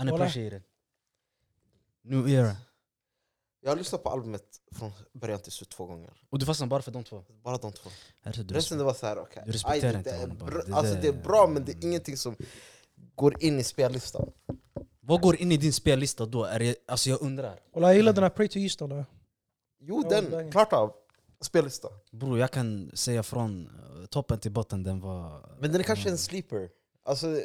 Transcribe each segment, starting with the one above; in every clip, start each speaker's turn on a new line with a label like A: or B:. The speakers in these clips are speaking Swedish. A: Unappreciated. New era.
B: Jag har lyssnat på albumet från början till slut två gånger.
A: Och du fastnar bara för de två?
B: Bara de två.
A: Alltså, du
B: Resten det var så här, okej.
A: Du respekterar
B: Aj,
A: inte
B: det, är
A: honom bara.
B: bra-
A: Det
B: alltså,
A: där-
B: det är bra men det är ingenting som går in i spellistan.
A: Vad går in i din spellista då? Är det, alltså jag undrar.
C: Walla, jag gillar den här Pray to Houston. Då.
B: Jo,
C: Ja,
B: den,
C: dang.
B: klart av. Spellista.
A: Bror jag kan säga från eh, toppen till botten, den var...
B: Men den är
A: Mm.
B: kanske en sleeper. Alltså,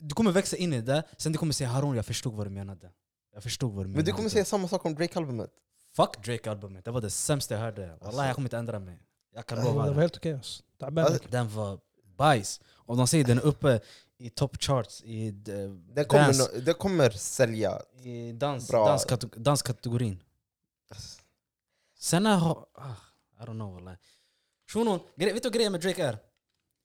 A: Du kommer växa in i det, sen du kommer säga Harun jag förstod vad du menade. Jag förstod vad du menade.
B: men du kommer säga samma sak om Drake-albumet.
A: Fuck Drake-albumet, det var det sämsta jag hörde.
B: Alltså.
A: Wallah jag kommer inte ändra mig. Jag kan
C: Den
A: lova
C: var
A: det.
C: helt okej. alltså. Taban.
B: Alltså,
A: Den var bajs. Och de säger den är uppe i top charts i, eh,
B: Den kommer,
A: Dance.
B: nå- den kommer sälja.
A: i dans,
B: Bra.
A: danskateg- danskategorin. Sen har... Ah, I don't know wallah. Shunon, gre- vet du vad grejen med Drake är?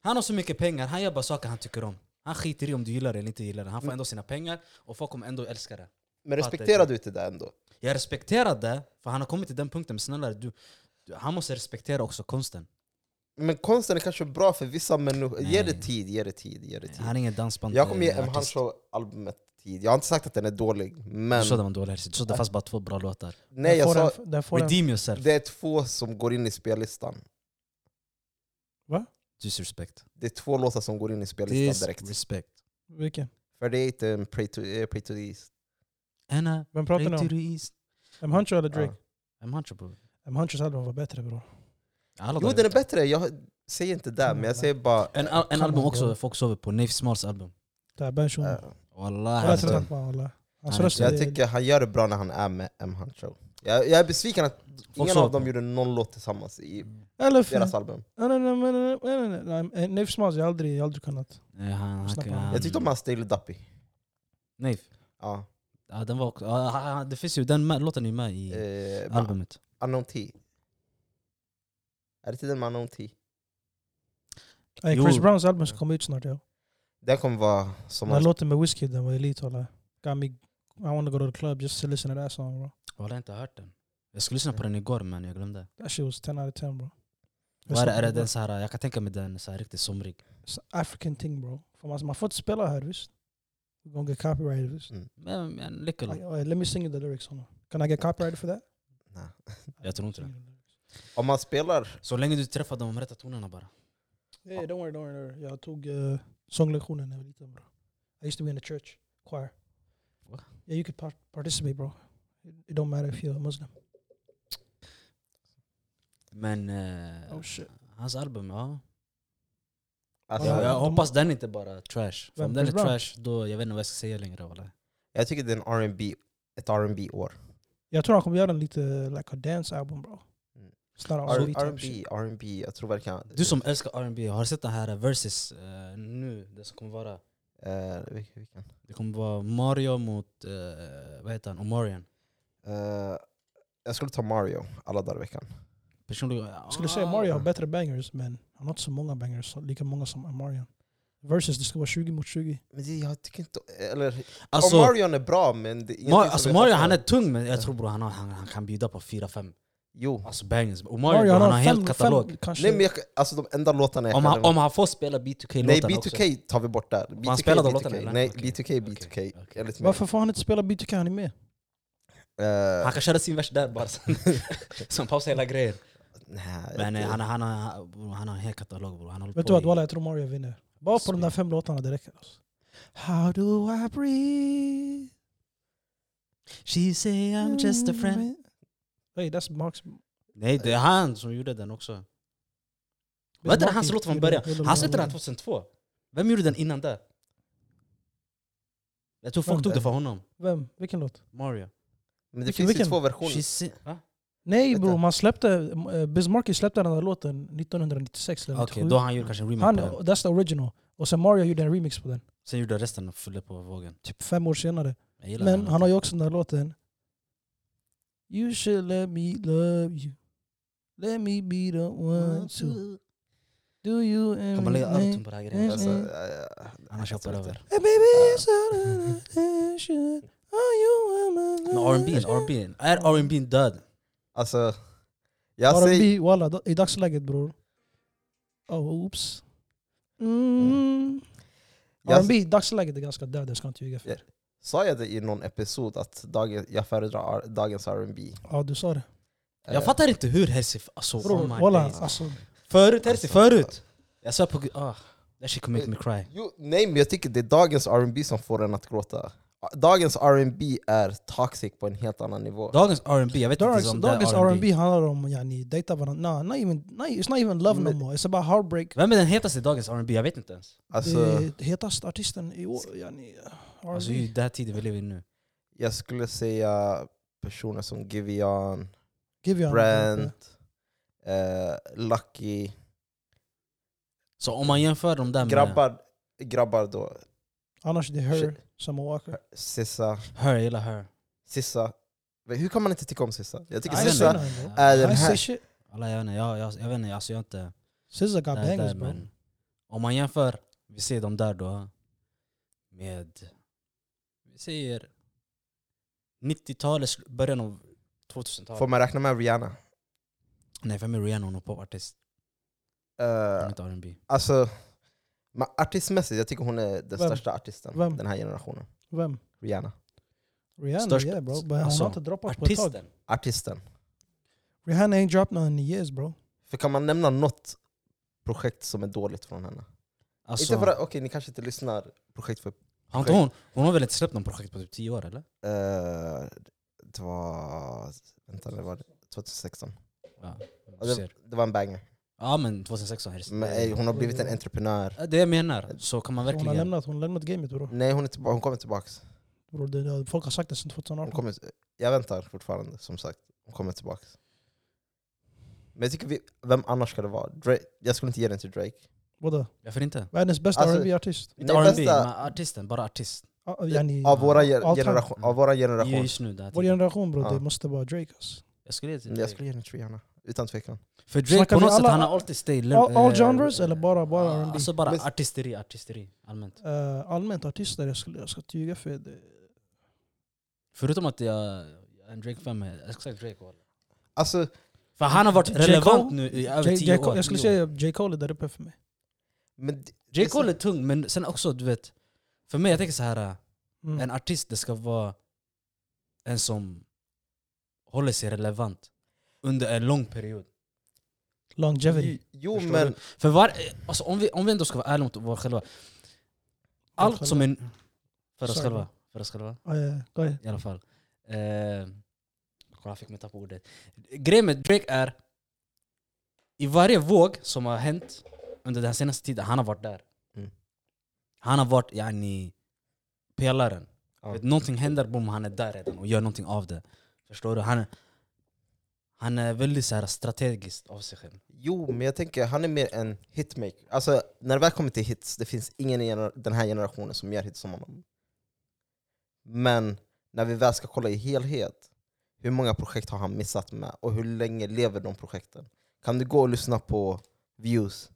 A: Han har så mycket pengar, han gör bara saker han tycker om. Han skiter i om du gillar det eller inte gillar det. Han får ändå sina pengar och folk kommer ändå älska det.
B: Men respekterar du inte det ändå?
A: Jag respekterar det, för han har kommit till den punkten. Men snälla, du, du, han måste respektera också konsten.
B: Men konsten är kanske bra för vissa människor. Ge det
A: Nej.
B: tid, ge det tid, ge det tid.
A: Han är ingen dansband.
B: Jag kommer ge
A: eh,
B: M.
A: artist.
B: Hancho-albumet tid. Jag har inte sagt att den är dålig,
A: Du
B: men...
A: sa det var en dålig artist. Du sa det fanns bara två bra låtar.
B: Nej, jag
C: får
B: sa,
C: den, den får den.
A: Redeem yourself.
B: det är två som går in i spellistan.
A: Disrespect.
B: Det är två låtar som går in i spellistan direkt.
A: Disrespect.
C: Vilken?
B: För det är inte en Pray to, eh, pray to the East.
A: Anna,
C: Vem
A: pray
C: pratar ni
A: to
C: om?
A: the east.
C: M. Huncho eller Drake?
A: I'm Hunter bro.
C: M. Hunchos album var bättre bror.
A: Alla
B: Jo,
A: dagar
B: den är
A: i veckan.
B: bättre. Jag säger inte det, men jag säger bara...
A: En, al- en
C: Come
A: album
C: on,
A: också
C: bro.
A: folk sover på, Nave Smalls album.
C: Taban shunon.
B: eh,
A: Wallah.
C: Jag är
B: alltså.
C: trött på honom. walla. Hans
A: Nej,
C: röst
B: jag
C: är...
B: tycker han gör det bra när han är med M. Hancho. Jag, jag är besviken att ingen
A: sa
B: av
A: det.
B: dem gjorde någon låt tillsammans i
C: Eller för...
B: deras album.
C: Nej, nej, nej, nej, nej, nej, nej, nej, nej. Nave Smalls, jag har aldrig, jag har aldrig kunnat.
A: Nej, han, han,
C: Snabbt.
A: kan- han,
B: Jag tyckte om hans Daily Duppy.
A: Nave.
B: Ja.
A: Ja, den var också, ja, han- han- det finns ju, den med, låten är ju med i
B: Eh, men
A: albumet.
B: Unknown T. Är det inte den med Unknown T?
C: Nej,
A: Jo.
C: Eh, Chris Browns album ska komma ut snart. Ja.
B: Den kommer vara som...
C: Den här låten med Whiskey, den var elit. Walla. Got me, I wanna go to the club just to listen to that song bro.
A: Wallah, jag har inte hört den. Jag skulle lyssna på den igår men jag glömde.
C: That shit was 10 out of 10 bro.
A: Var är det
C: Lyssna på
A: den så här, jag kan tänka mig den så här riktigt somrig.
C: It's an African thing bro. För man, man får inte spela här visst. We're gonna get copyrighted visst.
A: Men, men lycka
C: Like,
A: till.
C: alright, let me sing you the lyrics. Hold on. Can I get copyrighted for that?
B: Nej.
A: Jag tror inte det.
B: Om man spelar...
A: Så länge du träffar de rätta tonerna bara.
C: Yeah, don't worry, don't worry. don't worry. Jag tog uh, sånglektioner när jag var liten bro. I used to be in the church choir.
A: What?
C: Yeah, you could par participate bro. It don't matter if you're a Muslim.
A: Men eh,
C: Oh shit.
A: hans album, ja.
B: Alltså,
C: Ja,
A: Jag, jag
C: de-
A: hoppas den inte bara trash. För
C: Vem,
A: om den är
C: Chris Brown?
A: trash, då jag vet inte vad jag ska säga längre. Wallah.
B: Jag tycker det är en R&B, ett R&B år
C: Jag tror han kommer göra en lite like a dance album bro.
B: Mm.
C: It's not a R&B type shit.
B: R&B, R&B, jag tror verkligen...
A: Du som älskar R&B har du sett den här eh, Versus eh, nu? Det som kommer vara
B: Eh, vilken- vilken?
A: Det kommer vara Mario mot, eh, vad heter han, Omarion.
B: Eh, jag skulle ta Mario alla dagar i veckan.
A: Personligen...
C: Jag skulle
A: Ah.
C: säga Mario har
A: آه.
C: bättre bangers men han har inte så många bangers. så Lika många som Mario. Versus det ska vara 20 mot 20.
B: Men det, jag tycker inte... Eller,
A: Alltså,
B: om Marion är bra men... Det är ingenting
A: Ma-
B: som
A: alltså
B: jag
A: Mario
B: fattar.
A: han är tung men jag tror bror han, har, han, han kan bjuda på 4-5
B: Jo.
A: alltså bangers. Och Mario, bror, han, har en hel katalog.
C: kanske,
B: Nej men jag, alltså de enda låtarna jag
A: Om,
B: kan-
A: han, om han får spela B2K-låtarna
B: Nej,
A: också.
B: B2K tar vi bort där.
A: han
B: B2K,
A: spelar de
B: B2K.
A: låtarna, eller?
B: Nej,
A: Okej.
B: B2K, B2K.
A: Okej, okej.
B: Enligt mig.
C: varför får han inte spela B2K? Han är med.
B: Eh,
A: Han kan köra sin vers där bara sen. Som pausar hela grejen.
B: nej,
A: Men eh,
B: det-
A: han, han, har- bror, han har en hel katalog bror. Han håller
C: Vet
A: på
C: du vad
A: i-
C: Walla, jag tror Mario vinner. Bara på de där fem låtarna det räcker. Alltså. How do I breathe?
A: She say I'm just a friend. إيه،
C: Hey, that's Marks.
A: Nej det är han som gjorde den också. Vad är det hans låt från början? Han släppte den 2002. Vem gjorde den innan det? Jag tror folk
C: Vem?
A: tog det för honom.
C: Vem? Vilken låt?
A: Mario.
B: men det
C: Vilken-
B: finns ju
C: vilken?
B: två versioner.
A: She say, va?
C: Nej
B: Vänta.
C: bror, man släppte... eh, Biz Markie släppte den där låten 1996 eller
A: Okej,
C: 97.
A: då har han gjort kanske en remake
C: han,
A: på den.
C: That's the original. Och sen Mario gjorde en remix på den.
A: Sen gjorde resten och fyllde på vågen.
C: Typ fem år senare.
A: Jag gillar
C: Men han har
A: låten.
C: ju också den där låten. You should let me love you. Let me be the one to do you and
A: Kan man lägga
C: me.
A: autotune på den här grejen?
B: Alltså,
C: Mm.
B: eh,
A: Annars hoppar jag över.
C: Hey, baby, it's out of attention. Are you in my
A: Men R&B,
C: Mm.
A: R&B. Är R&B död?
B: alltså, jag säger...
C: R&B, walla, då- i dagsläget bror. Oh, oops. Mm.
B: Jag-
C: R&B i dagsläget är ganska död, jag ska inte ljuga för
B: Ja.
C: er.
B: Sa jag det i någon episod att dagen, jag föredrar R- Eh, dagens R&B?
C: Ja, du sa det.
A: Jag fattar inte hur Hersif... Alltså,
C: Bror,
A: oh my
C: walla,
A: days.
C: alltså.
A: Förut Hersif,
B: Alltså.
A: förut! Jag sa på... Gud, Ah, that shit could make me cry.
C: Eh,
B: Jo, nej, men jag tycker det är dagens R&B som får en att gråta. Dagens R&B är toxic på en helt annan nivå.
A: Dagens R&B, jag vet inte
C: Dagens,
A: om det
C: dagens
A: är
C: R&B
A: R&B.
C: handlar om yani, dejta varandra. Nah, not even, not, it's not even love no
B: Men-
C: more. It's about heartbreak.
A: Vem är den hetaste i dagens R&B? Jag vet inte ens.
B: Alltså,
C: det hetaste artisten i år, yani, R&B.
A: Alltså i den här tiden vi lever i nu.
B: jag skulle säga personer som Givian,
C: Give you
B: Brent, eh, Lucky.
A: Så om man jämför de där med...
B: Grabbar, grabbar då.
C: Annars det är Her,
B: Shit.
C: Summer Walker.
B: Sissa.
A: Her, jag gillar her.
B: Sissa. Men Hur kan man inte tycka om Sissa? Jag tycker
C: Nej,
A: Sen-
B: Sissa...
C: jag känner henne.
B: är den
C: I say
B: här-
C: shit.
A: Alla, jag vet inte, jag, jag, jag vet inte, alltså jag är inte...
C: SZA got
A: där,
C: bangers
A: där,
C: bro.
A: men om man jämför, vi ser de där då med, vi säger 90-talets, början av
B: Får
A: 2000-talet.
B: man räkna med Rihanna? Eh,
A: Nej, för mig är Rihanna hon är popartist, hon är
B: Uh,
A: inte R&B.
B: alltså, ma- artistmässigt, jag tycker hon är den
C: Vem?
B: största artisten
C: Vem?
B: den här generationen.
C: Vem?
B: Rihanna.
C: Rihanna
A: Största-
C: yeah bro. But hon
A: alltså,
C: har inte droppat på ett tag.
A: Artisten?
B: Artisten.
C: Rihanna ain't dropped none in years bro.
B: För kan man nämna något projekt som är dåligt från henne?
A: Alltså,
B: Inte för att, okej ni kanske inte lyssnar projekt för...
A: har inte hon, hon har väl inte släppt någon projekt på typ 10 år eller?
B: eh, det var... Vänta, det var 2016.
A: Ja,
B: Ja,
A: du
B: det,
A: ser.
B: det var en banger.
A: ja men 2016 är det.
B: Alltså- Men, ey, hon har blivit en entreprenör.
A: Ja, Det jag menar, så kan man
C: Hon har
A: verkligen...
C: lämnat, hon har lämnat gamet bro.
B: Nej, hon, är tillba- hon kommer tillbaks.
C: bro det, folk har sagt det sedan
B: Hon
C: 2018.
B: kommer, jag väntar fortfarande, som sagt. Hon kommer tillbaks. Men jag tycker, vi, vem annars ska det vara? Drake, jag skulle inte ge den till Drake.
C: Vadå?
A: Varför inte?
C: Världens bästa
B: Alltså,
C: R&B artist
A: Inte
B: Nej,
A: R&B,
B: bästa-
A: men artisten, bara artist.
C: Ah, yani,
B: Av våra, ge-
C: all time.
B: generation, av våra generation.
A: Just nu, det här
C: Vår
A: tiden.
C: generation bro,
B: Ja.
C: det måste vara Drake alltså.
A: typ. Jag skulle ge det till
B: Jag
A: Drake.
B: skulle ge den till Rihanna, utan tvekan.
A: För Drake
C: Snackar
A: på
C: vi
A: något sätt,
C: alla-
A: han har alltid stay le-
C: all- all
A: eh,
C: genres eller bara- bara
A: ah,
C: R&B?
A: Alltså bara
B: Men-
A: artisteri, artisteri allmänt.
C: Eh, allmänt artister, jag, skulle, jag ska ljuga för det.
A: Förutom att jag jag är en Drake-fan, men jag ska säga Drake. wallah.
B: Alltså,
A: För han har varit
C: J.
A: relevant
C: Cole?
A: nu i över
C: J,
A: tio
C: J,
A: år.
C: Cole, jag skulle
A: tio år.
C: säga J. Cole är där uppe för mig.
B: men d-
A: J. Cole är tung, men sen också du vet, för mig jag tänker så här,
C: Mm.
A: en artist det ska vara en som håller sig relevant under en lång period.
C: Longevity.
B: jo
A: Förstår
B: men...
A: För var, alltså, om, vi, om vi ändå ska vara ärliga mot oss själva, allt som är... För oss
C: Sorry.
A: själva. För oss själva.
C: Ja, ja, ja. Go ahead.
A: i alla fall. Eh, kolla, jag fick mig tappa ordet. Grejen med Drake är, i varje våg som har hänt under den senaste tiden, han har varit där.
B: Mm.
A: Han har varit yani, pelaren.
B: Ja.
A: Vet, någonting händer, boom, han är där redan och gör någonting av det. Förstår du? Han, han är väldigt så här, strategiskt av sig själv.
B: Jo, men jag tänker han är mer en hitmaker. Alltså, när det väl kommer till hits, det finns ingen i gener- den här generationen som gör hits som honom. Men när vi väl ska kolla i helhet, hur många projekt har han missat med? Och hur länge lever de projekten? Kan du gå och lyssna på Views?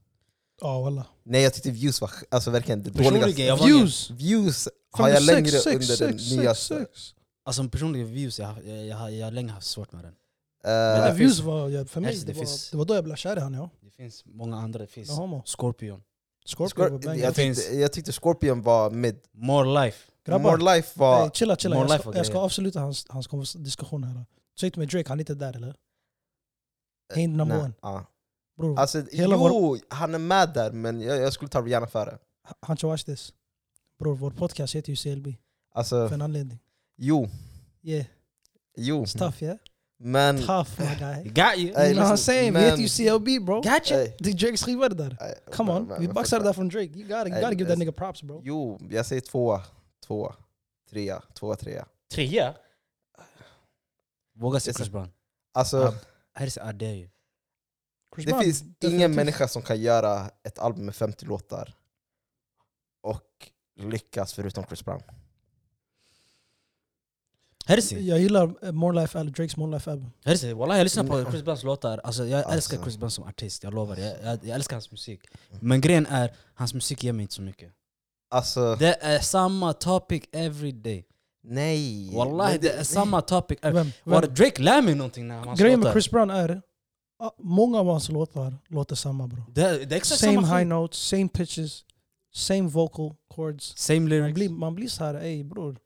C: Ja, walla.
B: Nej, jag tyckte Views var sk- alltså, verkligen det dåligaste.
A: Personligen, jag var ingen,
C: Views!
B: Views har
C: Fan,
B: jag
C: det är
B: längre
C: sex, sex,
B: under
C: sex,
B: den
C: sex,
B: nyaste.
C: sex.
A: alltså, personligen views, jag, har- jag, jag, har- jag har länge haft svårt med den.
B: Eh,
A: det
C: Ja,
A: finns-
C: Äh, Views var, ja, för
A: Yes,
B: alltså,
C: mig,
A: det
C: det
A: finns.
C: var, det var då jag blev kär i han ja.
A: Det finns många andra, det finns
C: No homo.
A: Scorpion,
C: Scorpio var
B: Scor-
C: bang.
B: jag, tyckte, jag tyckte Scorpion var mid.
A: More Life.
C: Grabbar,
B: More Life var...
C: hey, chilla chilla.
A: More
C: Jag
A: life
C: ska,
A: var
C: jag ska
A: grejen.
C: avsluta hans, hans konvers- diskussion här. då. Säg till mig Drake, han är inte där eller? Ain't number
B: Äh, Nej,
C: one.
B: ja.
C: Bror,
B: Alltså,
C: Hela
B: jo,
C: vår-
B: han är med där, men jag, jag skulle ta Rihanna före.
C: han ska watch this. Bror, vår podcast heter ju CLB.
B: Alltså,
C: För en anledning.
B: jo,
C: Yeah,
B: jo.
C: it's tough yeah.
B: Men...
C: Tough my guy.
A: Got you!
B: Mm. Ey,
C: You know what I'm
B: listen,
C: saying? Vi
B: men-
C: heter ju CLB bro.
A: Gotcha!
B: ey,
C: Did Drake skriva det där?
B: ey,
C: Come
B: men-
C: on,
B: men-
C: vi
B: men
C: baxade
B: fattar.
C: det där från Drake. You gotta, you
B: Ey,
C: gotta give that
B: listen.
C: nigga props bro.
B: Jo, jag säger tvåa. Tvåa. Trea. Tvåa, trea.
A: Trea? Våga se
B: Yes,
A: Chris Brown.
B: Alltså,
A: Ja, Här är I dare you.
C: Chris
B: det
C: Brown,
B: finns ingen
C: definitivt.
B: människa som kan göra ett album med 50 låtar och lyckas förutom Chris Brown.
A: Hersi,
C: Jag gillar eh, More Life, eller Drakes More Life album.
A: Hersi, wallah jag lyssnar på Chris Browns låtar. Alltså, jag älskar
B: Alltså.
A: Chris Brown som artist, jag lovar. Jag, jag, jag älskar hans musik. Men grejen är, hans musik ger mig inte så mycket.
B: Alltså,
A: Det är samma topic every day.
B: nej.
A: Wallahi,
B: Men
A: det är samma topic. every-
C: Vem?
A: Var
C: Vem?
A: det Drake lär mig någonting när hans
C: Grejen med
A: låtar?
C: Chris Brown är, ah, många av hans låtar låter samma bro.
A: Det är, det är exakt
C: Same
A: samma
C: high
A: skit.
C: notes, same pitches, same vocal chords.
A: Same
C: Man blir,
A: lyrics.
C: man blir så här, ey bror.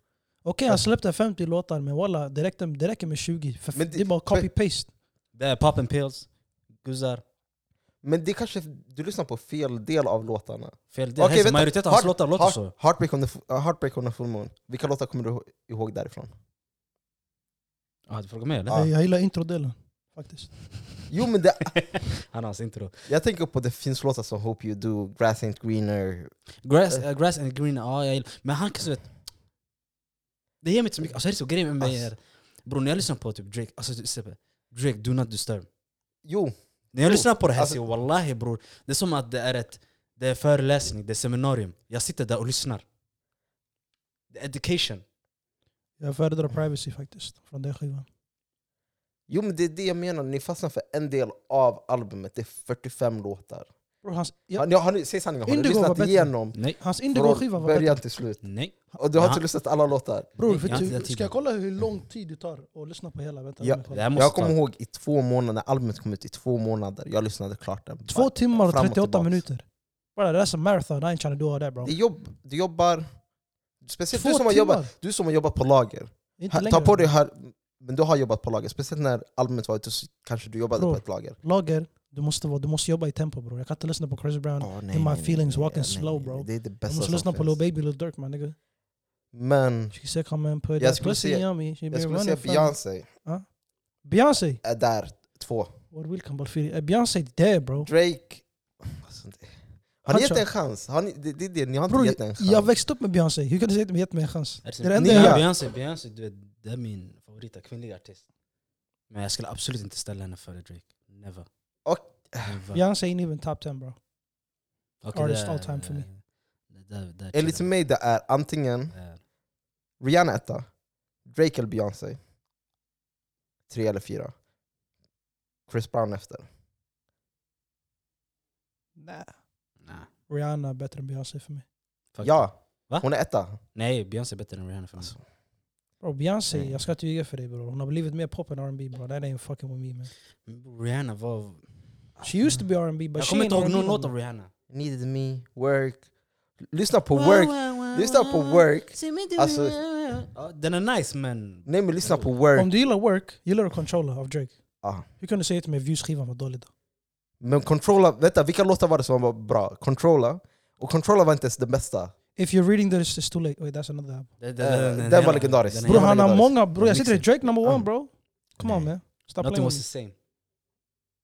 C: han släppte 50 låtar men walla, det, räckte, det räcker med 20. För
B: Men
C: det,
B: det-
C: är bara copy-paste.
A: Det är Pop and Pills, Guzzar.
B: Men det kanske, du lyssnar på fel del av låtarna.
A: Fel del. Hälsa,
B: vänta.
A: majoriteten av
B: Heart-
A: hans låtar låter
B: Heart-
A: så.
B: Heartbreak on, the, fu- uh, Heartbreak on the full moon. Vilka låtar kommer du ihå- ihåg därifrån?
A: Ah, du frågar mig eller?
B: Ja.
C: Jag, jag gillar introdelen faktiskt.
B: Jo men det,
A: Han har hans intro.
B: jag tänker på det finns låtar som Hope You Do, Grass Ain't Greener.
A: Grass, eh, grass and green, ja jag gillar. Men han kanske vet... Det ger mig inte så mycket. Alltså det är så grejen med mig är...
B: Ass.
A: Bror när jag lyssnar på typ Drake, alltså du- Sebbe, Drake do not disturb.
B: Jo,
A: När jag
B: Jo,
A: lyssnar på det här,
B: alltså-
A: alltså, wallahi bror. Det är som att det är ett... Det är föreläsning, det är seminarium. Jag sitter där och lyssnar. Det är education.
C: Jag föredrar privacy faktiskt från den skivan.
B: jo men det är det jag menar, ni fastnar för en del av albumet. Det är 45 låtar.
C: Bro, hans
B: Har
C: ja,
B: ni, har ni, säg sanningen, har ni
C: Indigo var
B: lyssnat
C: bättre.
B: igenom
A: Nej.
C: hans indigo-skiva
B: från
C: var bättre.
B: början till slut?
A: Nej.
B: Och du har inte
A: Ja.
B: lyssnat alla låtar?
C: Bror,
A: Jag har inte den
C: vet du, ska
A: tiden.
C: jag kolla hur lång tid det tar att lyssna på hela? Vänta,
B: Ja,
C: jag
A: Det
C: kollar.
A: här måste
B: Jag
A: ta-
B: kommer ihåg i två månader, när albumet kom ut i två månader, jag lyssnade klart den.
C: Två timmar och
B: Fram och
C: 38
B: tillbaks.
C: minuter. Bro, that's a marathon, I ain't trying to do all that bro.
B: Det är jobb, du jobbar... Speciellt
C: Två
B: Typ du som, har
C: timmar?
B: jobbat, du som har jobbat på lager.
C: Inte
B: Ha,
C: längre.
B: ta på dig här, men du har jobbat på lager. Speciellt när albumet var ute så kanske du jobbade
C: Bro.
B: på ett lager.
C: Lager, du måste, vara, du måste jobba i tempo bro. Jag kan inte lyssna på Chris Brown.
B: Oh,
C: In my feelings, walking slow, bro.
B: Det är det
C: Jag
B: bästa
C: måste
B: som
C: lyssna på Lil
B: finns.
C: Baby, Lil Durk man nigga.
B: Men
C: She said come and put
B: Jag
C: that
B: skulle
C: pussy
B: säga-
C: on me. She
B: jag
C: been
B: skulle
C: running
B: säga
C: from-
B: Beyoncé
C: Beyoncé!
B: är där, två.
C: What will come but feel- Eh, Beyoncé dead bro.
B: Drake... Alltså, det- Har ni
C: Han
B: gett
C: kör.
B: en chans? Har ni, det, det, är det, ni har inte
C: Bror,
B: gett en chans.
C: Jag växte upp med Beyoncé, hur kan du säga att de gett mig en chans?
A: Är
C: Det
A: det
C: är det enda
A: Nej,
C: jag
B: Nya.
C: gör.
A: Beyoncé, Beyoncé du vet, det är min favorita kvinnliga artist. Men jag skulle absolut inte ställa henne före Drake. Never.
B: Och-
A: Never.
C: Beyoncé ain't even top 10 bro.
A: Okej,
C: artist
A: det-
C: all time för mig.
A: det- det- eh, det-
B: Enligt
A: det-
B: mig det är antingen
A: det-
B: Rihanna etta, Drake eller Beyoncé. Tre eller fyra. Chris Brown efter.
C: Nah.
A: nej,
C: Rihanna är bättre än Beyoncé för mig.
A: fuck it.
B: Ja,
A: Va?
B: hon är etta.
A: Nej, Beyoncé är bättre än Rihanna för mig.
B: Alltså.
C: Bro, Beyoncé,
A: Mm.
B: Nej.
C: jag ska inte ljuga för dig bro. Hon har blivit mer pop än R&B bro. That ain't fucking with me man.
A: Rihanna var...
C: She used to be R&B but
A: Ah, mm. Jag
C: she
A: kommer inte
C: ain't
A: ihåg
C: R&B
A: någon
C: no
A: låt
C: more.
A: av Rihanna.
B: Needed me, work. Lyssna på work. Lyssna på work. Alltså-
A: Ja, Den är nice men...
B: Nej men lyssna på work.
C: Om du gillar Work, gillar du Controller av Drake?
B: Ja.
C: Hur kan du säga till mig att Views-skivan var dålig då?
B: Men controlla, vänta vilka låtar var det som var bra? Controlla. Och controlla var inte ens den bästa.
C: If you're reading this it's too late. Wait that's another album.
A: Den,
B: Eh, den var legendarisk.
A: den är-
B: Nej,
C: Bro
B: jag var
C: han har
B: legendarisk.
C: många, bro jag
A: Mixen.
C: sitter i Drake number
B: Mm.
C: one bro. Come on
A: Nej.
C: man. Stop
A: Nothing
C: playing
A: was
C: with
A: the
C: me.
A: same.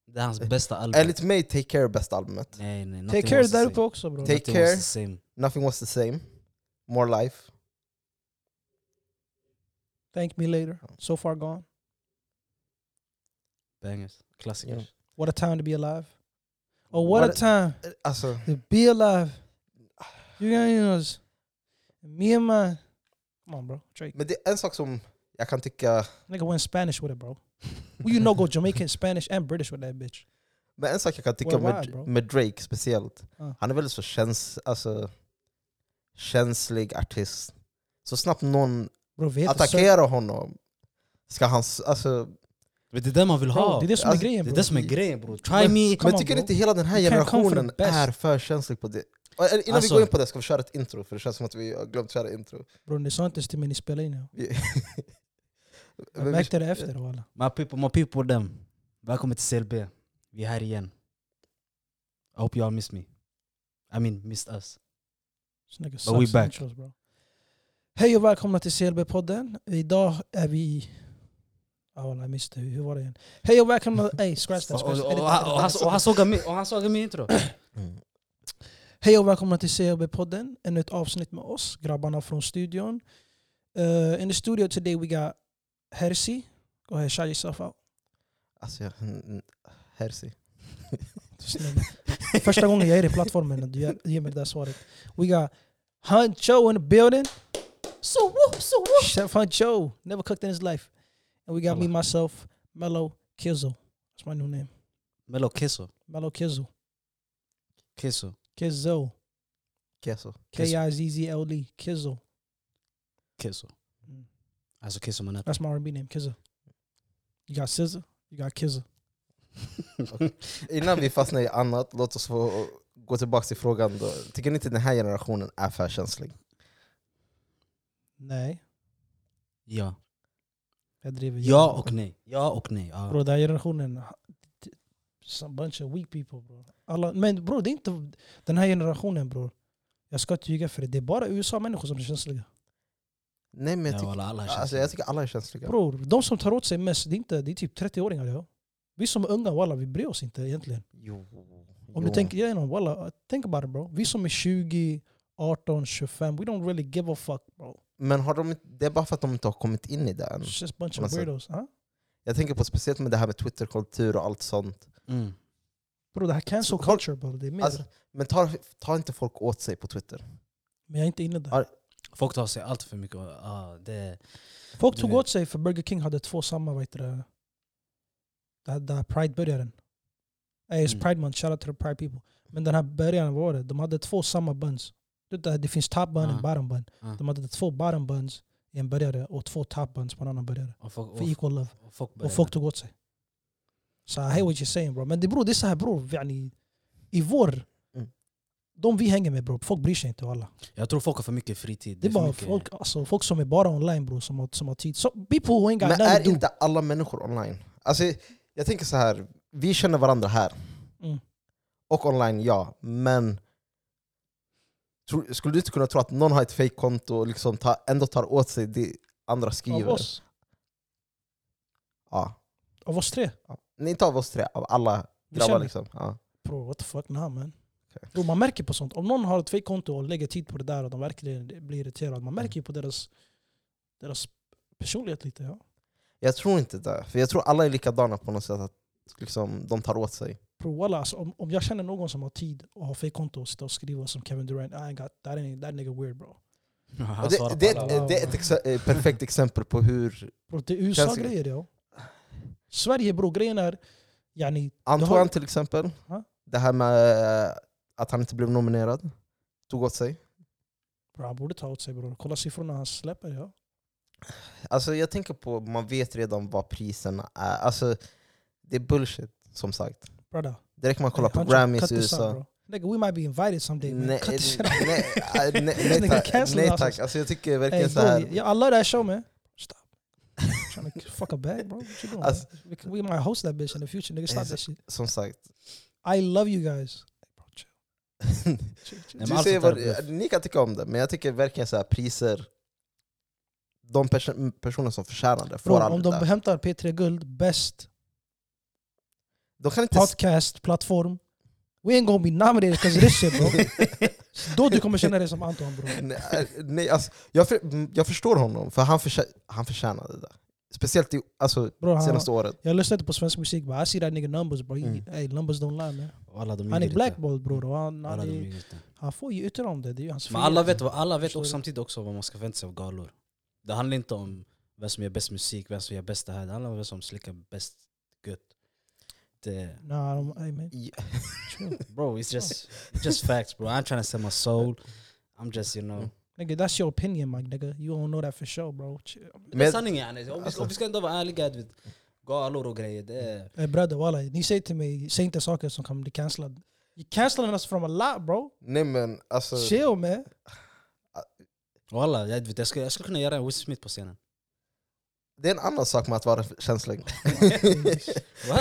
A: Det är hans
B: Eh,
A: bästa album.
B: Enligt mig, Take Care är bästa albumet.
A: Nej, nej,
C: Take
A: nothing
C: care
A: was the
C: där
A: same.
C: uppe också bro.
B: Take
A: Nothing
B: care.
A: was the same.
B: Nothing was the same. More life.
C: Thank me later. So far gone.
A: Bangers. Klassiker.
B: Ja.
C: What a time to be alive. Oh what,
B: What
C: a
B: a-
C: time
B: Eh, Alltså,
C: to be alive. You guys, me and my... Come on bro, Drake.
B: men det är en sak som jag kan tycka...
C: Nigga went Spanish with it bro. Well, you know go Jamaican, Spanish and British with that bitch.
B: Men en sak jag kan tycka
C: Worldwide, bro.
B: med, med Drake speciellt.
C: Ja.
B: Han är väldigt så käns, alltså, känslig artist. Så snabbt någon
C: Bro, vi heter Sir-
B: attackerar honom ska han... s- Alltså,
A: Men det är det man vill
C: Bro,
A: ha.
C: det är det som är
B: Alltså,
C: grejen
A: Det
C: bro.
A: är det som är grejen bror. Try
C: Men-
A: me.
C: Come
B: men
C: on,
B: tycker
C: bro.
B: ni inte hela den här
C: You can't come for the
B: generationen
C: best.
B: är för känslig på det? Och, eller, Innan
A: Alltså-
B: vi går in på det ska vi köra ett intro, för det känns som att vi har glömt köra intro.
C: Bro, ni sa inte ens till mig ni spelade in. ja.
B: Vi-
C: Jag
B: Men vi-
C: märkte det efter walla.
A: My people, my people them. Välkommen till CLB. Vi är här igen. I hope you all miss me. I mean missed us.
C: Så nigga
A: But we
C: sucks
A: back.
C: intros, bro. Hej och välkomna till CLB-podden. Idag är vi... Ah, walla, jag missade. Hur hur var det igen? Hej och välkomna... Ey, scratch that.
A: Och- och-
C: Scratch.
A: och-
C: Edit,
A: och-
C: edit,
A: och-
C: edit.
A: och- och han sågar min- och han sågar min oh, intro.
C: Oh,
B: Mm.
C: Hej och välkomna till CLB-podden. Ännu ett avsnitt med oss, grabbarna från studion. Uh, in the studio today we got Hersi. Go ahead, shout yourself out.
B: Alltså, jag, mm, Herzi.
C: Snälla. Första gången jag är i plattformen och du ger- ger mig det där svaret. We got Huncho in the building. So whoop, so whoop. Chef Huncho, never cooked in his life. And we got me, myself, Mello Kizzle. That's my new name.
A: Mello Kisso.
C: Mello Kizzle.
A: Kisso.
C: Kizzle.
B: Keso.
C: K-I-Z-Z-L-E. E. Kizzle.
A: Kisso.
C: Mm.
A: Alltså Kisso man
C: That's my R&B name, Kizzle. You got Scissor. You got Kizzle.
B: Innan vi fastnar i annat, låt oss få gå tillbaka till frågan. Då. Tycker ni inte den här generationen är för känslig?
C: Nej.
A: Ja.
C: Jag driver.
A: Ja och nej. Ja och nej. Ja.
C: Bro, den här generationen, uh, some bunch of weak people bro. Alla, men bro, det är inte den här generationen bro. Jag ska inte ljuga för det. Det är bara USA-människor som är känsliga.
B: Nej men jag
A: Ja,
B: tycker,
A: walla, alla
C: Ah,
A: känns
B: alltså,
A: det.
B: jag tycker alla är känsliga.
C: Bror, de som tar åt sig mest, det är, inte, det är typ 30-åringar. Ja. Vi som är unga, walla, vi bryr oss inte egentligen.
B: Jo.
C: Om
B: jo.
C: du tänker igenom, walla, think about it bro. Vi som är 20, 18, 25, we don't really give a fuck bro.
B: Men har de, inte- det är bara för att de inte har kommit in i det än.
C: It's just bunch
B: på något
C: of
B: sätt.
C: weirdos. Huh?
B: Jag tänker på speciellt med det här med Twitterkultur och allt sånt.
A: Mm.
C: Bro, det här cancel
B: Kolla-
C: culture bro, det är mer.
B: Alltså, men tar, tar inte folk åt sig på Twitter?
C: men jag är inte inne där.
B: Ja.
A: Folk tar sig allt för mycket. Ah, det,
C: Folk
A: du
C: tog
A: vet.
C: åt sig för Burger King hade två samma, vad heter det? Där, där Pride började. Hey, it's
A: Mm.
C: Pride month, shout out to the Pride people. Men den här början, vad var det? De hade två samma buns. Du vet, Det, det finns top bun och
A: Ah.
C: bottom bun.
A: Ah.
C: De hade två bottom buns i en börjare och två top buns på en annan börjare.
A: och folk, och,
C: För equal love.
A: och folk börjar-
C: Och folk tog åt sig. Så I hate what you're saying bro. Men det, bro, det är så här bro, yani, i vår,
B: Mm.
C: de vi hänger med bro, folk bryr sig inte alla.
A: Jag tror folk har för mycket fritid.
C: Det är
A: för
C: bara
A: mycket-
C: folk, alltså, folk som är bara online bro, som har, som har tid. So, people who ain't
B: Men
C: got nothing to
B: är
C: do.
B: inte alla människor online? Alltså, jag tänker så här. vi känner varandra här.
C: Mm.
B: Och online, ja. Men tror- skulle du inte kunna tro att någon har ett fejkkonto och liksom ta, ändå tar åt sig det andra skriver?
C: Av oss.
B: Ja.
C: Av oss tre?
B: ja. Nej, inte av oss tre, av alla
C: Vi
B: grabbar
C: känner.
B: liksom. Ja.
C: Bro, what the fuck nah man.
B: Okej.
C: Bro, man märker på sånt. Om någon har ett fejkkonto och lägger tid på det där och de verkligen blir irriterade. Man märker ju
B: Mm.
C: på deras, deras personlighet lite. Ja.
B: Jag tror inte det, för jag tror alla är likadana på något sätt. Att liksom, de tar åt sig.
C: Bro, walla, alltså, om, om jag känner någon som har tid och har fejkkonto och sitter och skriver som Kevin Durant, "Ah, I ain't got, that, ain't, that nigga weird bro.
A: Han
B: Och det,
A: svarar
B: det,
A: på
B: det,
A: alla.
B: är ett- det är ett exe- eh, perfekt exempel på hur...
C: bro det är
B: Känns det-
C: USA-grejer ja. Sverige bro, grejen är... Yani,
B: Antoine till exempel,
C: Ja.
B: det här med eh, att han inte blev nominerad, tog åt sig.
C: bro, han borde ta åt sig bror. Kolla siffrorna han släpper ja.
B: Alltså jag tänker på, man vet redan vad priserna är. Alltså det är bullshit som sagt.
C: Brother,
B: Det räcker man kolla på
C: Hunter,
B: Grammys uh,
C: cut
B: i
C: this out,
B: USA.
C: bro. Nigga, we might be invited someday. Man.
B: Nej,
C: cut this shit out.
B: nej, nej, nej, nej
C: Nigga,
B: tack.
C: cancel
B: Nej
C: us.
B: tack. Alltså, jag tycker verkligen
C: Hey,
B: så
C: bro,
B: här.
C: yeah, I love that show, man. Stop. trying to fuck a bag, bro. What you doing?
B: Alltså-
C: man? we, can- we might host that bitch in the future, nigga. Stop that shit.
B: Som sagt.
C: I love you guys. Hey, bro, chill. Chill, chill.
A: Nej, men alltså,
B: Du
A: allt
B: säger
A: sånt där
B: vad,
A: är bluff.
B: ni kan tycka om det, men jag tycker verkligen så här priser. De perso- personer som förtjänar det får
C: Bro, om
B: aldrig
C: de
B: det.
C: hämtar P3 Guld, bäst
B: De kan inte... s-
C: podcast, plattform. We ain't gonna be nominated because of this shit bro. Då du kommer känna dig som Anton bro.
B: Nej, nej, alltså, jag, för, jag förstår honom, för han, förtjä, han förtjänade det. Speciellt i, alltså,
C: bro han,
B: senaste året.
C: jag lyssnar inte på svensk musik but I see that nigga numbers bro. He-
B: Mm.
C: Hey, numbers don't lie man.
A: Alla de
C: Han är
A: ljuger inte.
C: blackballed bror. och Han, han,
A: Alla de
C: är-
A: ljuger inte.
C: han får ju yttra om det. Det är ju hans
A: Men
C: frihet.
A: alla vet, vad- alla vet
C: Förstår
A: också
C: du?
A: samtidigt också vad man ska förvänta sig av galor. Det handlar inte om vem som gör bäst musik, vem som gör bäst det här. Det handlar om vem som slickar bäst gött. Det,
C: Nah, I don't, hey, man.
B: Ja.
C: Chill.
A: bro, it's just, it's just facts bro. I'm trying to sell my soul. I'm just you know.
B: Mm.
C: Nigga, that's your opinion, my nigga. You don't know that for sure, bro. Chill.
A: Men, det är
B: Men-
A: sanningen yani. Om, vi- om vi ska ändå vara ärliga, du vet, galor och grejer. Det är,
C: Hey, Eh, brother, walla, ni säger till mig, säg inte saker som kan bli cancellad. You cancelling us from a lot, bro.
B: Nej men alltså...
C: Chill, man.
A: Walla, jag, vet, jag, skulle, jag skulle kunna göra en Will Smith på scenen.
B: Det är en annan sak med att vara känslig.
A: Va?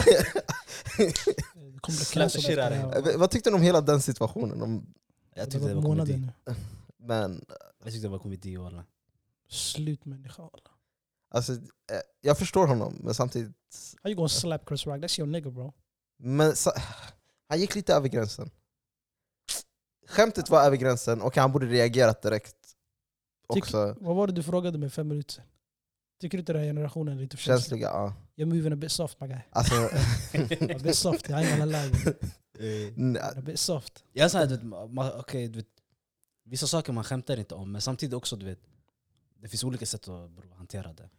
C: Det kommer bli
A: Slap the
C: cancelled
A: shit
C: efter det
A: out
C: här.
A: of
B: Eh, V- Vad tyckte ni om hela den situationen? Om,
A: Jag
C: Det
A: tyckte det
C: var
A: var
C: månader
A: komedi.
C: nu.
B: men,
A: Jag tyckte det var komedi walla.
C: Slut människa. walla.
B: alltså, eh, jag förstår honom, men samtidigt...
C: How you gonna slap Chris Rock? That's your nigga, bro.
B: Men, sa, han gick lite över gränsen. Skämtet var över gränsen och han borde reagerat direkt.
C: Tyck-
B: Också
C: Vad var det du frågade mig fem minuter sedan? Tycker du inte den här generationen är lite för känslig?
B: känsliga. Ja.
C: You're moving a bit soft, my guy.
B: Alltså,
C: A bit soft, I ain't gonna lie. bro.
A: Eh,
B: n-
C: A bit soft.
A: Jag sa du vet, ma- okej, du vet, vissa saker man skämtar inte om, men samtidigt också du vet, det finns olika sätt att bro, hantera det.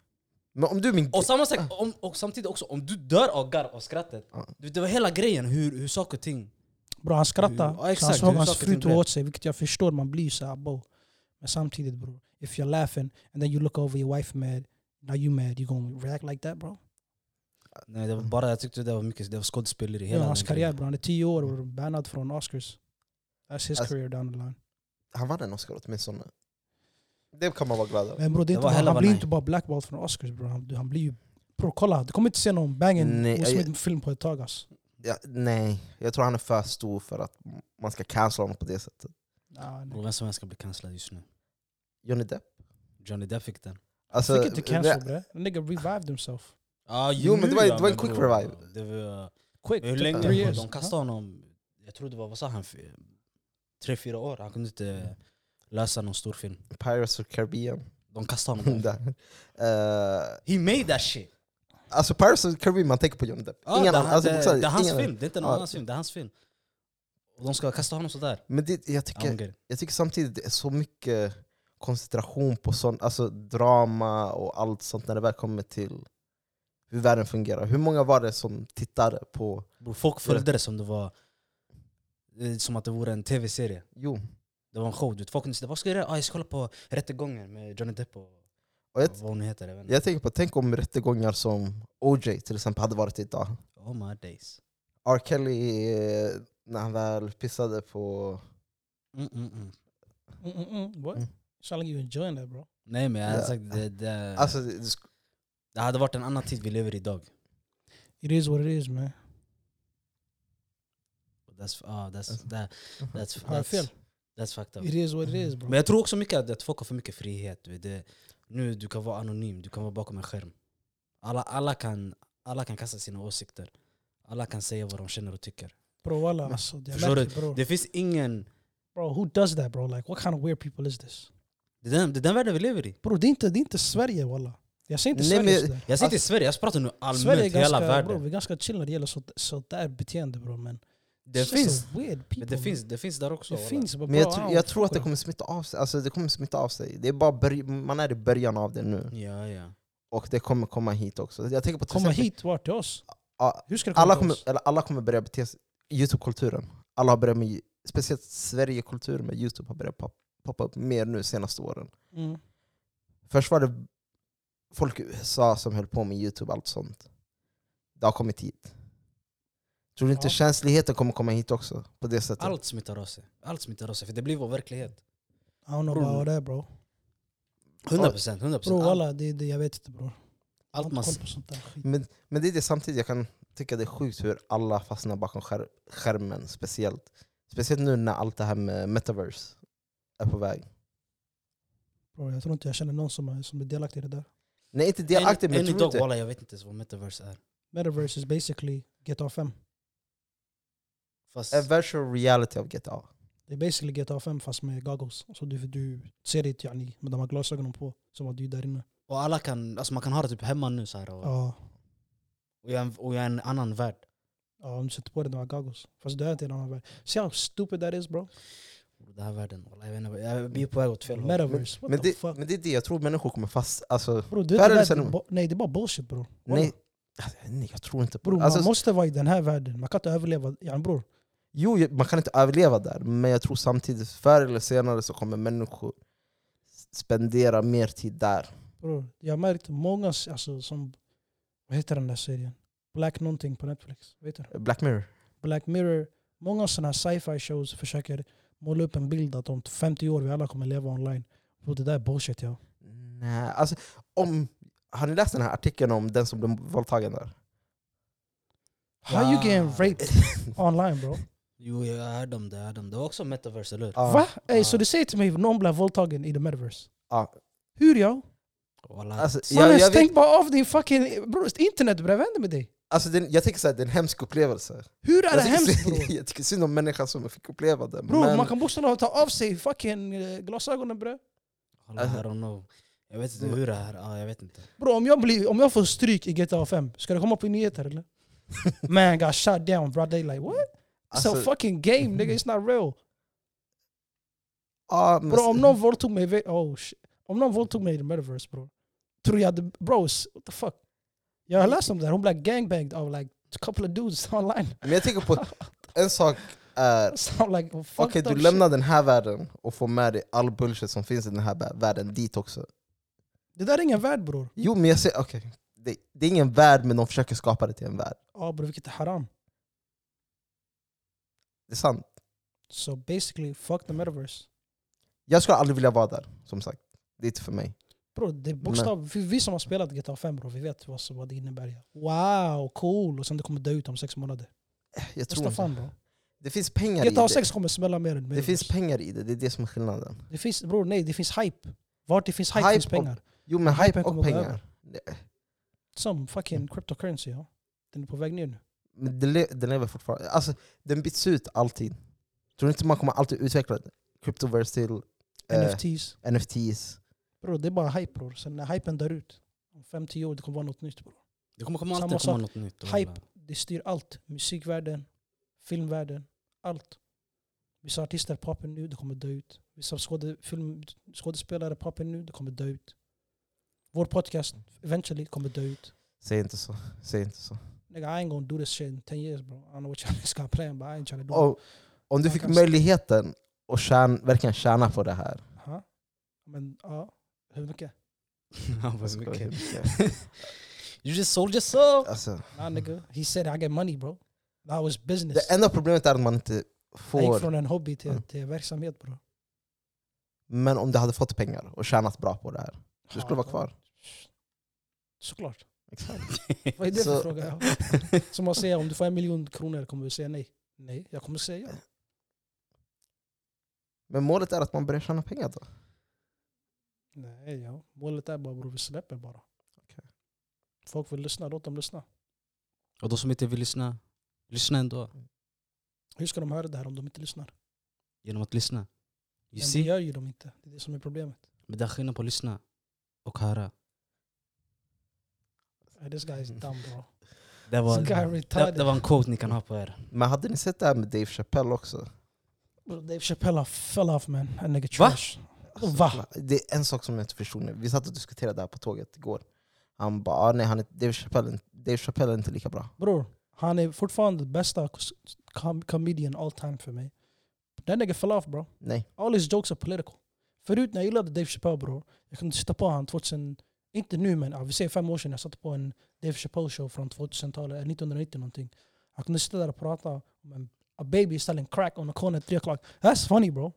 B: men om du är min...
A: Och, samma sak,
B: Ah.
A: om, och samtidigt också, om du dör av garv av skrattet,
B: Ja.
A: du vet, det var hela grejen hur, hur saker och ting...
C: Bro, han
A: Ja,
C: skrattade. så han
A: exakt.
C: såg
A: Hur
C: hans
A: saker
C: fru
A: och
C: tog
A: ting
C: åt sig, vilket jag förstår. Man blir så här, bro. Men samtidigt bro, if you're laughing and then you look over your wife mad, now you mad, you gonna react like that bro?
A: Nej,
B: Mm.
A: det var bara, jag tyckte det var mycket det var skådespeleri. Hela
C: Hela hans
A: den
C: karriär
A: grejen.
C: bro, han är tio år och bannad från Oscars. That's his
B: Alltså-
C: career down the line.
B: Han vann en Oscar åtminstone. Det kan man vara glad över.
C: Men bror, det är
A: Det
C: inte
A: var
C: bara,
A: hella
C: han blir
A: var
C: inte bara blackballed från Oscars bror. Han, han blir ju... Bror kolla, du kommer inte se någon banging
B: Nej,
C: Will
B: jag-
C: Smith-film på ett tag alltså.
B: Ja, nej, jag tror han är för stor för att man ska cancella honom på det sättet.
C: Nah, nej.
A: Bror, Vem som helst ska bli cancellad just nu.
B: Johnny Depp?
A: Johnny Depp fick den.
B: Alltså,
C: Fick inte cancel
B: eh, det-
C: bre. The nigga revived himself.
A: Ah,
B: Jo, men det var-
A: nu,
B: det var en
A: men Typ
B: quick
A: bror,
B: revive.
A: Det var,
C: Quick,
A: hur
C: took
A: länge?
C: three years.
A: De kastade honom, jag tror det var, vad sa han? F- Tre, fyra år? Han kunde
B: Mm.
A: inte lösa någon stor film.
B: Pirates of Caribbean.
A: De kastade honom.
B: Där. Eh,
A: He made that shit!
B: alltså Pirates of Caribbean, man tänker på Johnny Depp.
A: Ja,
B: Ingen
A: det,
B: annan- alltså,
A: det,
B: bokstavligt,
A: det är hans
B: ingen annan.
A: film, det är inte någon
B: Ja.
A: annans film. Det är hans film. Och de ska kasta honom sådär.
B: Men det, jag,
A: I don't
B: tycker,
A: get it.
B: jag tycker samtidigt det är så mycket koncentration på sån, alltså drama och allt sånt när det väl kommer till hur världen fungerar. Hur många var det som tittade på...
A: Bror, Folk följde det som det var eh, som att det vore en tv-serie.
B: Jo,
A: Det var en show. Du vet. Folk kunde säga vad ska jag göra? Ah, jag ska kolla på Rättegången med Johnny Depp och
B: och jag,
A: vad hon heter. Jag vet inte.
B: jag tänker på, tänk om rättegångar som OJ till exempel hade varit idag.
A: Oh my days.
B: R. Kelly, eh, när han väl pissade på...
A: Mm, mm, mm.
C: Mm, mm, mm. What?
B: Mm.
C: Sound like you enjoying that bro.
A: Nej men jag hade
B: Ja.
A: sagt det, det,
B: Alltså, det- det sk-
A: det hade varit en annan tid vi lever i idag.
C: It is what it is man.
A: That's, ah,
B: Alltså.
A: that's, that, that's,
C: Har jag fel?
A: that's, that's fucked up.
C: It is what it is bro.
A: Alltså, Men jag tror också mycket att- att folk har för mycket frihet. du vet. Det, nu du kan vara anonym, du kan vara bakom en skärm. Alla, alla, kan, alla kan kasta sina åsikter. Alla kan säga vad de känner och tycker.
C: Bro walla alltså. Jag
A: Förstår
C: märker bro.
A: Det finns ingen...
C: Bro who does that bro? Like what kind of weird people is this?
A: Det är den, det är den världen vi lever i.
C: Bro det är inte, det är inte Sverige walla. Jag säger inte
B: Nej,
C: Sverige
B: men-
C: sådär.
A: Jag säger inte i Sverige, jag pratar nu
C: Sverige är
A: allmänt,
C: ganska,
A: hela
C: bro,
A: världen.
C: vi är ganska chill när det gäller så, sådär beteende bro. Men
A: det,
C: it's just
A: finns,
C: weird people.
A: men det,
C: man.
A: finns, det finns där också.
C: Det
A: walla.
C: finns bro,
B: men jag,
C: bro,
B: tror-
C: I
B: jag
C: don't
B: tror att
C: fuck
B: det
C: with
B: kommer smitta av sig. Alltså, det kommer smitta av sig. Det är bara börj- man är i början av det nu.
A: Ja, ja.
B: Och det kommer komma hit också. Jag tänker på till
C: Komma
B: exempel-
C: hit, vart? Till oss?
B: Ja,
C: Hur ska det komma
B: alla,
C: till
B: kommer,
C: oss?
B: eller alla kommer börja bete sig... Youtube-kulturen. Alla har börjat med... Speciellt Sverigekulturen med Youtube har börjat pop- poppa upp mer nu senaste åren.
C: Mm.
B: Först var det folk i USA som höll på med Youtube och allt sånt. Det har kommit hit. Tror du inte
C: Ja.
B: känsligheten kommer komma hit också? På det sättet?
A: Allt smittar av sig. Allt smittar av sig, för det blir vår verklighet.
C: I don't know
A: Bror.
C: about that bro.
A: 100 procent. 100
C: Bro
A: procent. Allt,
C: walla, det, det, jag vet inte bror. Jag har
A: allt
C: inte
A: man...
C: koll
A: s-
C: på sånt där skit.
B: Men, men det är det samtidigt, jag kan tycka det är sjukt hur alla fastnar bakom skär, skärmen. Speciellt Speciellt nu när allt det här med metaverse är på väg.
C: Bro, jag tror inte jag känner någon som, är- som är delaktig i det där.
B: Nej, inte delaktig,
A: Än-
B: men
A: än
B: tror du
A: idag,
B: inte...
A: walla, jag vet inte ens vad metaverse är.
C: Metaverse is basically GTA 5.
A: Fast,
B: A virtual reality of GTA.
C: Det är basically GTA 5 fast med goggles. Så du, du ser det yani, med de här glasögonen på, som att du är där inne.
A: och alla kan, alltså man kan ha det typ hemma nu så här, och,
C: Ja,
A: och, jag, är en- och jag är en annan värld.
C: ja, om du sätter på dig de här goggles. Fast du är inte i en annan värld. Se how stupid that is bro.
A: Den här världen, walla, jag, vet inte, vad- jag blir på väg åt fel håll.
C: Metaverse, what
B: Men
C: the
B: det,
C: fuck?
B: men det är det, jag tror människor kommer fast... Alltså,
C: Bro, du vet
B: Världen
C: det
B: sen-
C: där, det är ba- nej det är bara bullshit bror. Walla.
B: nej, alltså, nej, jag tror inte på
C: Bror,
B: det. Alltså,
C: man måste vara i den här världen. Man kan inte överleva. Yani bror,
B: Jo, jag- man kan inte överleva där, men jag tror samtidigt förr eller senare så kommer människor spendera mer tid där.
C: bror, jag har märkt många s- alltså, som... Vad heter den där serien? Black någonting på Netflix. Vet du?
B: Black Mirror.
C: Black Mirror. Många sådana här sci-fi shows försöker måla upp en bild att om 50 år vi alla kommer leva online. Bror, det där är bullshit ja.
B: Nej, alltså, om, har ni läst den här artikeln om den som blev våldtagen där?
C: How you getting
A: Wow.
C: raped online bro?
A: Jo, jag hörde om det. Jag hörde om det. det var också metaverse, eller hur?
B: Ja.
C: Va? Ey, så
A: Ah.
C: du säger till mig att någon blir våldtagen i the metaverse?
B: Ja.
C: Hur ja?
A: Walla,
B: Alltså, jag,
C: Mannen,
B: jag, vet,
C: stäng bara av din fucking... Bror, internet bre, vad händer med dig?
B: alltså, den, jag tänker såhär, det är en hemsk upplevelse.
C: Hur är det
B: Jag tycker,
C: hemskt bror?
B: synd- jag tycker synd om människan som fick uppleva det.
C: Bror,
B: men,
C: man kan bokstavligen ta av sig fucking eh, glasögonen bre.
A: walla, I don't know. Jag vet inte hur det här... Ja, jag vet inte.
C: Bro, om, jag blir, om jag får stryk i GTA 5, ska det komma upp i nyheter eller? Man got shot down bro, they like what? It's a
B: alltså,
C: fucking game nigga, it's not real.
B: ja, men-
C: Bro, om någon våldtog mig, ve- oh, shit. om någon våldtog mig i the metaverse bro, tror jag hade, bros, what the fuck? Jag har läst om det här, hon blev gangbanged av like a couple of dudes online.
B: men jag tänker på en sak är
C: Sound like fucked
B: Okej,
C: up
B: du
C: shit.
B: lämnar den här världen och får med dig all bullshit som finns i den här vä- världen dit också.
C: Det där är ingen värld bror.
B: Jo, men jag säger, okej. Det, det är ingen värld, men de försöker skapa det till en värld.
C: Ja bror, vilket är haram.
B: Det är sant.
C: So basically, fuck the metaverse.
B: Jag skulle aldrig vilja vara där, som sagt. Det är inte för mig.
C: Bro, det är bokstav, vi, vi som har spelat GTA 5 bro, vi vet vad, vad det innebär. Wow, cool! Och sen det kommer dö ut om sex månader.
B: Jag tror
C: What's the
B: inte.
C: fun bro?
B: Det finns pengar i
C: GTA
B: det.
C: 6 kommer smälla mer än
B: Det finns
C: Metaverse.
B: pengar i det, det är det som är skillnaden.
C: det finns, bro, nej, det finns hype. Vart det finns hype,
B: Hype
C: finns
B: och-
C: pengar.
B: Jo men hype
C: Hypen kommer
B: och
C: gå
B: pengar.
C: över. Som fucking cryptocurrency ja. Den är på väg ner nu.
B: Men den, le- den lever fortfarande. Alltså, den byts ut alltid. Tror du inte man kommer alltid utveckla Cryptoverse till eh,
C: NFTs.
B: NFTs?
C: Bro, det är bara hype bror. Sen när hypen dör ut, om 5-10 år det kommer vara något nytt bror.
A: Det kommer komma
C: Samma
A: alltid komma
C: sak.
A: något nytt.
C: Hype, det styr allt. Musikvärlden, filmvärlden, allt. Vissa artister poppar nu, det kommer dö ut. Vissa skåde, film, skådespelare poppar nu, det kommer dö ut. Vår podcast, eventually, kommer dö ut.
B: Säg inte så. Säg inte så.
C: Nigga, I ain't gonna do this shit in 10 years bro. I don't know what y'all niggas got planned but I ain't trying to do it.
B: Och, om du
C: Man
B: fick
C: kanske-
B: möjligheten att tjäna, verkligen tjäna på det här.
C: Aha. Men ja, uh, hur mycket?
A: Han bara,
B: Ska
A: "Okay."
B: vi se.
A: You just sold yourself!
B: Alltså,
C: Nah nigga, he said I get money bro. That was business.
B: det enda problemet är att man inte
C: Jag gick
B: får.
C: från en hobby till,
B: Ja.
C: till verksamhet bro.
B: Men om du hade fått pengar och tjänat bra på det här, du skulle
C: Ja,
B: vara kvar.
C: Ah, Såklart.
B: Exakt.
C: Vad är det
B: Så-
C: för fråga? Som att säga om du får en miljon kronor kommer du säga nej? Nej, jag kommer säga ja.
B: Men målet är att man börjar tjäna pengar då.
C: Nej, ja. Målet är bara bror, vi släpper bara.
B: Okej.
C: Folk vill lyssna, låt dem lyssna.
A: Och de som inte vill lyssna, lyssna ändå.
C: Hur ska de höra det här om de inte lyssnar?
A: Genom att lyssna. You
C: Men det
A: see?
C: gör ju de inte. Det är det som är problemet.
A: Men det är skillnad på att lyssna och höra.
C: Eh, This guy is
B: Mm.
C: dumb bro.
A: Det var,
C: This guy
A: det, det
C: retarded.
A: var en quote ni kan ha på er.
B: Men hade ni sett det här med Dave Chappelle också?
C: Bro, Dave Chappelle fell off man. That nigga trash. Va?
B: Alltså, Det är en sak som jag inte förstod nu. Vi satt och diskuterade det här på tåget igår. Han bara, ah, nej, han är, Dave, Chappelle, Dave Chappelle är inte lika bra.
C: Bror, han är fortfarande den bästa com- comedian all time för mig. That nigga fell off bro.
B: Nej.
C: All his jokes are political. Förut när jag gillade Dave Chappelle bror, jag kunde sitta på han 2000, inte nu ah, men ja, vi säger fem år sedan, jag satte på en Dave Chappelle show från 2000-talet, eller 1990 någonting. Jag kunde sitta där och prata om en a baby selling crack on a corner at 3 o'clock. That's funny bro.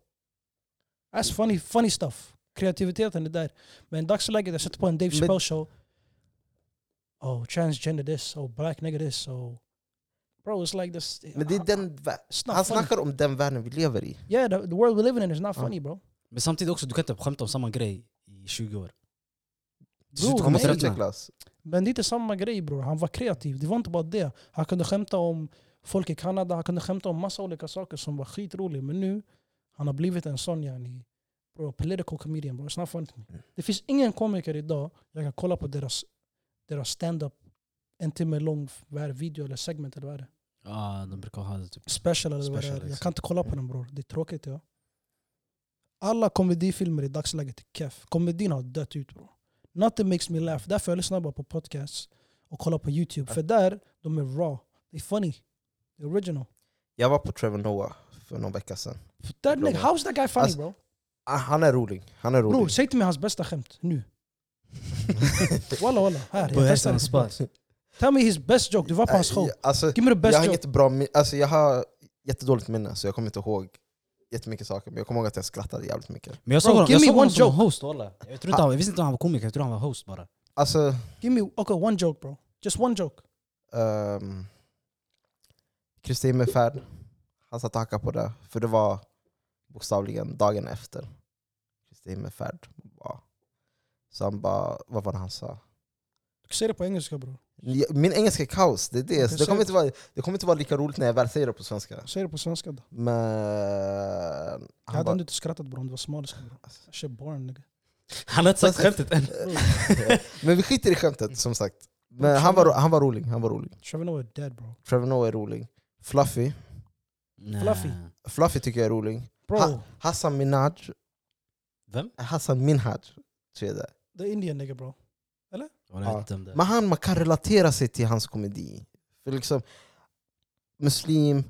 C: That's funny, funny stuff. Kreativiteten är där. Men i dagsläget, jag sätter på en Dave
B: Men-
C: Chappelle show. Oh, transgender this, oh black nigga this, oh... Bro, it's like this... ah,
B: Men det är den vä-
C: It's not
B: han
C: funny.
B: snackar om den världen vi lever i.
C: Yeah, the, the world we live in is not
B: Ja.
C: funny bro.
A: Men samtidigt också, du kan inte skämta om samma grej i 20 år. Till slut
C: Bror,
B: Han
A: kommer
C: nej.
B: måste
A: du tröttna.
B: utvecklas.
C: Men det är inte samma grej bror. Han var kreativ. Det var inte bara det. Han kunde skämta om folk i Kanada. Han kunde skämta om massa olika saker som var skitroligt. Men nu, han har blivit en sån yani. Bro, political comedian bro. It's not funny. Det finns ingen komiker idag jag kan kolla på deras, deras stand-up en timme lång var video eller segment eller vad är det
A: Ja, de brukar ha det typ.
C: Special eller vad det
A: Special,
C: är. Jag
A: exakt.
C: kan inte
B: Mm.
C: kolla på den bror. Det är tråkigt ja. Alla komedifilmer i dagsläget är keff. Komedin har dött ut bror. Nothing makes me laugh. Därför jag lyssnar bara på podcasts och kollar på YouTube. För där, de är raw. Det är funny. Det är original.
B: Jag var på Trevor Noah för någon vecka sedan.
C: För där,
B: Bra.
C: nigga, how's that guy funny
B: Alltså,
C: bro?
B: Ah, han är rolig. Han är
C: Bror,
B: rolig.
C: säg till mig hans bästa skämt nu. Walla walla, här.
A: Börja
C: Jag
A: hitta
C: testar
A: en
C: det på plats.
A: spot.
C: Tell me his best joke. Du var på hans show.
B: Äh, Alltså,
C: Give me the
B: jag
C: best
B: har
C: joke.
B: inget bra min- alltså, jag har jättedåligt minne så jag kommer inte ihåg jättemycket saker. Men jag kommer ihåg att jag skrattade jävligt mycket.
A: Men
C: Bro,
A: jag såg honom,
C: give
A: jag
C: me
A: såg
C: one
A: honom som
C: joke.
A: host walla. Jag, tror inte han- jag visste inte om han var komiker, jag tror han var host bara.
B: Alltså,
C: Give me, okay, one joke bro. Just one joke.
B: ehm, Kristin med färd. Han satt och hackade på det. För det var bokstavligen dagen efter. Kristin med färd. var- Så han bara, vad var det han sa?
C: Du kan säga det på engelska bror.
B: Ja, Min engelska är kaos, det är det. Så
C: Okej,
B: det, kommer
C: säg.
B: inte vara, det kommer inte vara lika roligt när jag väl säger det på svenska.
C: Säg det på svenska då.
B: Men...
C: Jag
B: Han
C: hade
B: bara,
C: ändå inte skrattat bror om det var somaliska bror. Shit boring nigga.
A: Han har inte sagt skämtet än.
B: men vi skiter i skämtet som sagt. Men han var, ro- han var rolig, han var rolig.
C: Trevor Noah är dead bro.
B: Trevor Noah är rolig. Fluffy.
A: Nej.
C: Fluffy.
B: Fluffy tycker jag är rolig.
C: Bro,
B: Ha- Hassan Minhaj.
A: Vem?
B: Hassan Minhaj. Tror jag det. är.
C: the Indian nigga bro.
A: Walla, jag
B: Ja.
C: Ah.
A: vet inte om det.
B: Men han, man kan relatera sig till hans komedi. För liksom, muslim,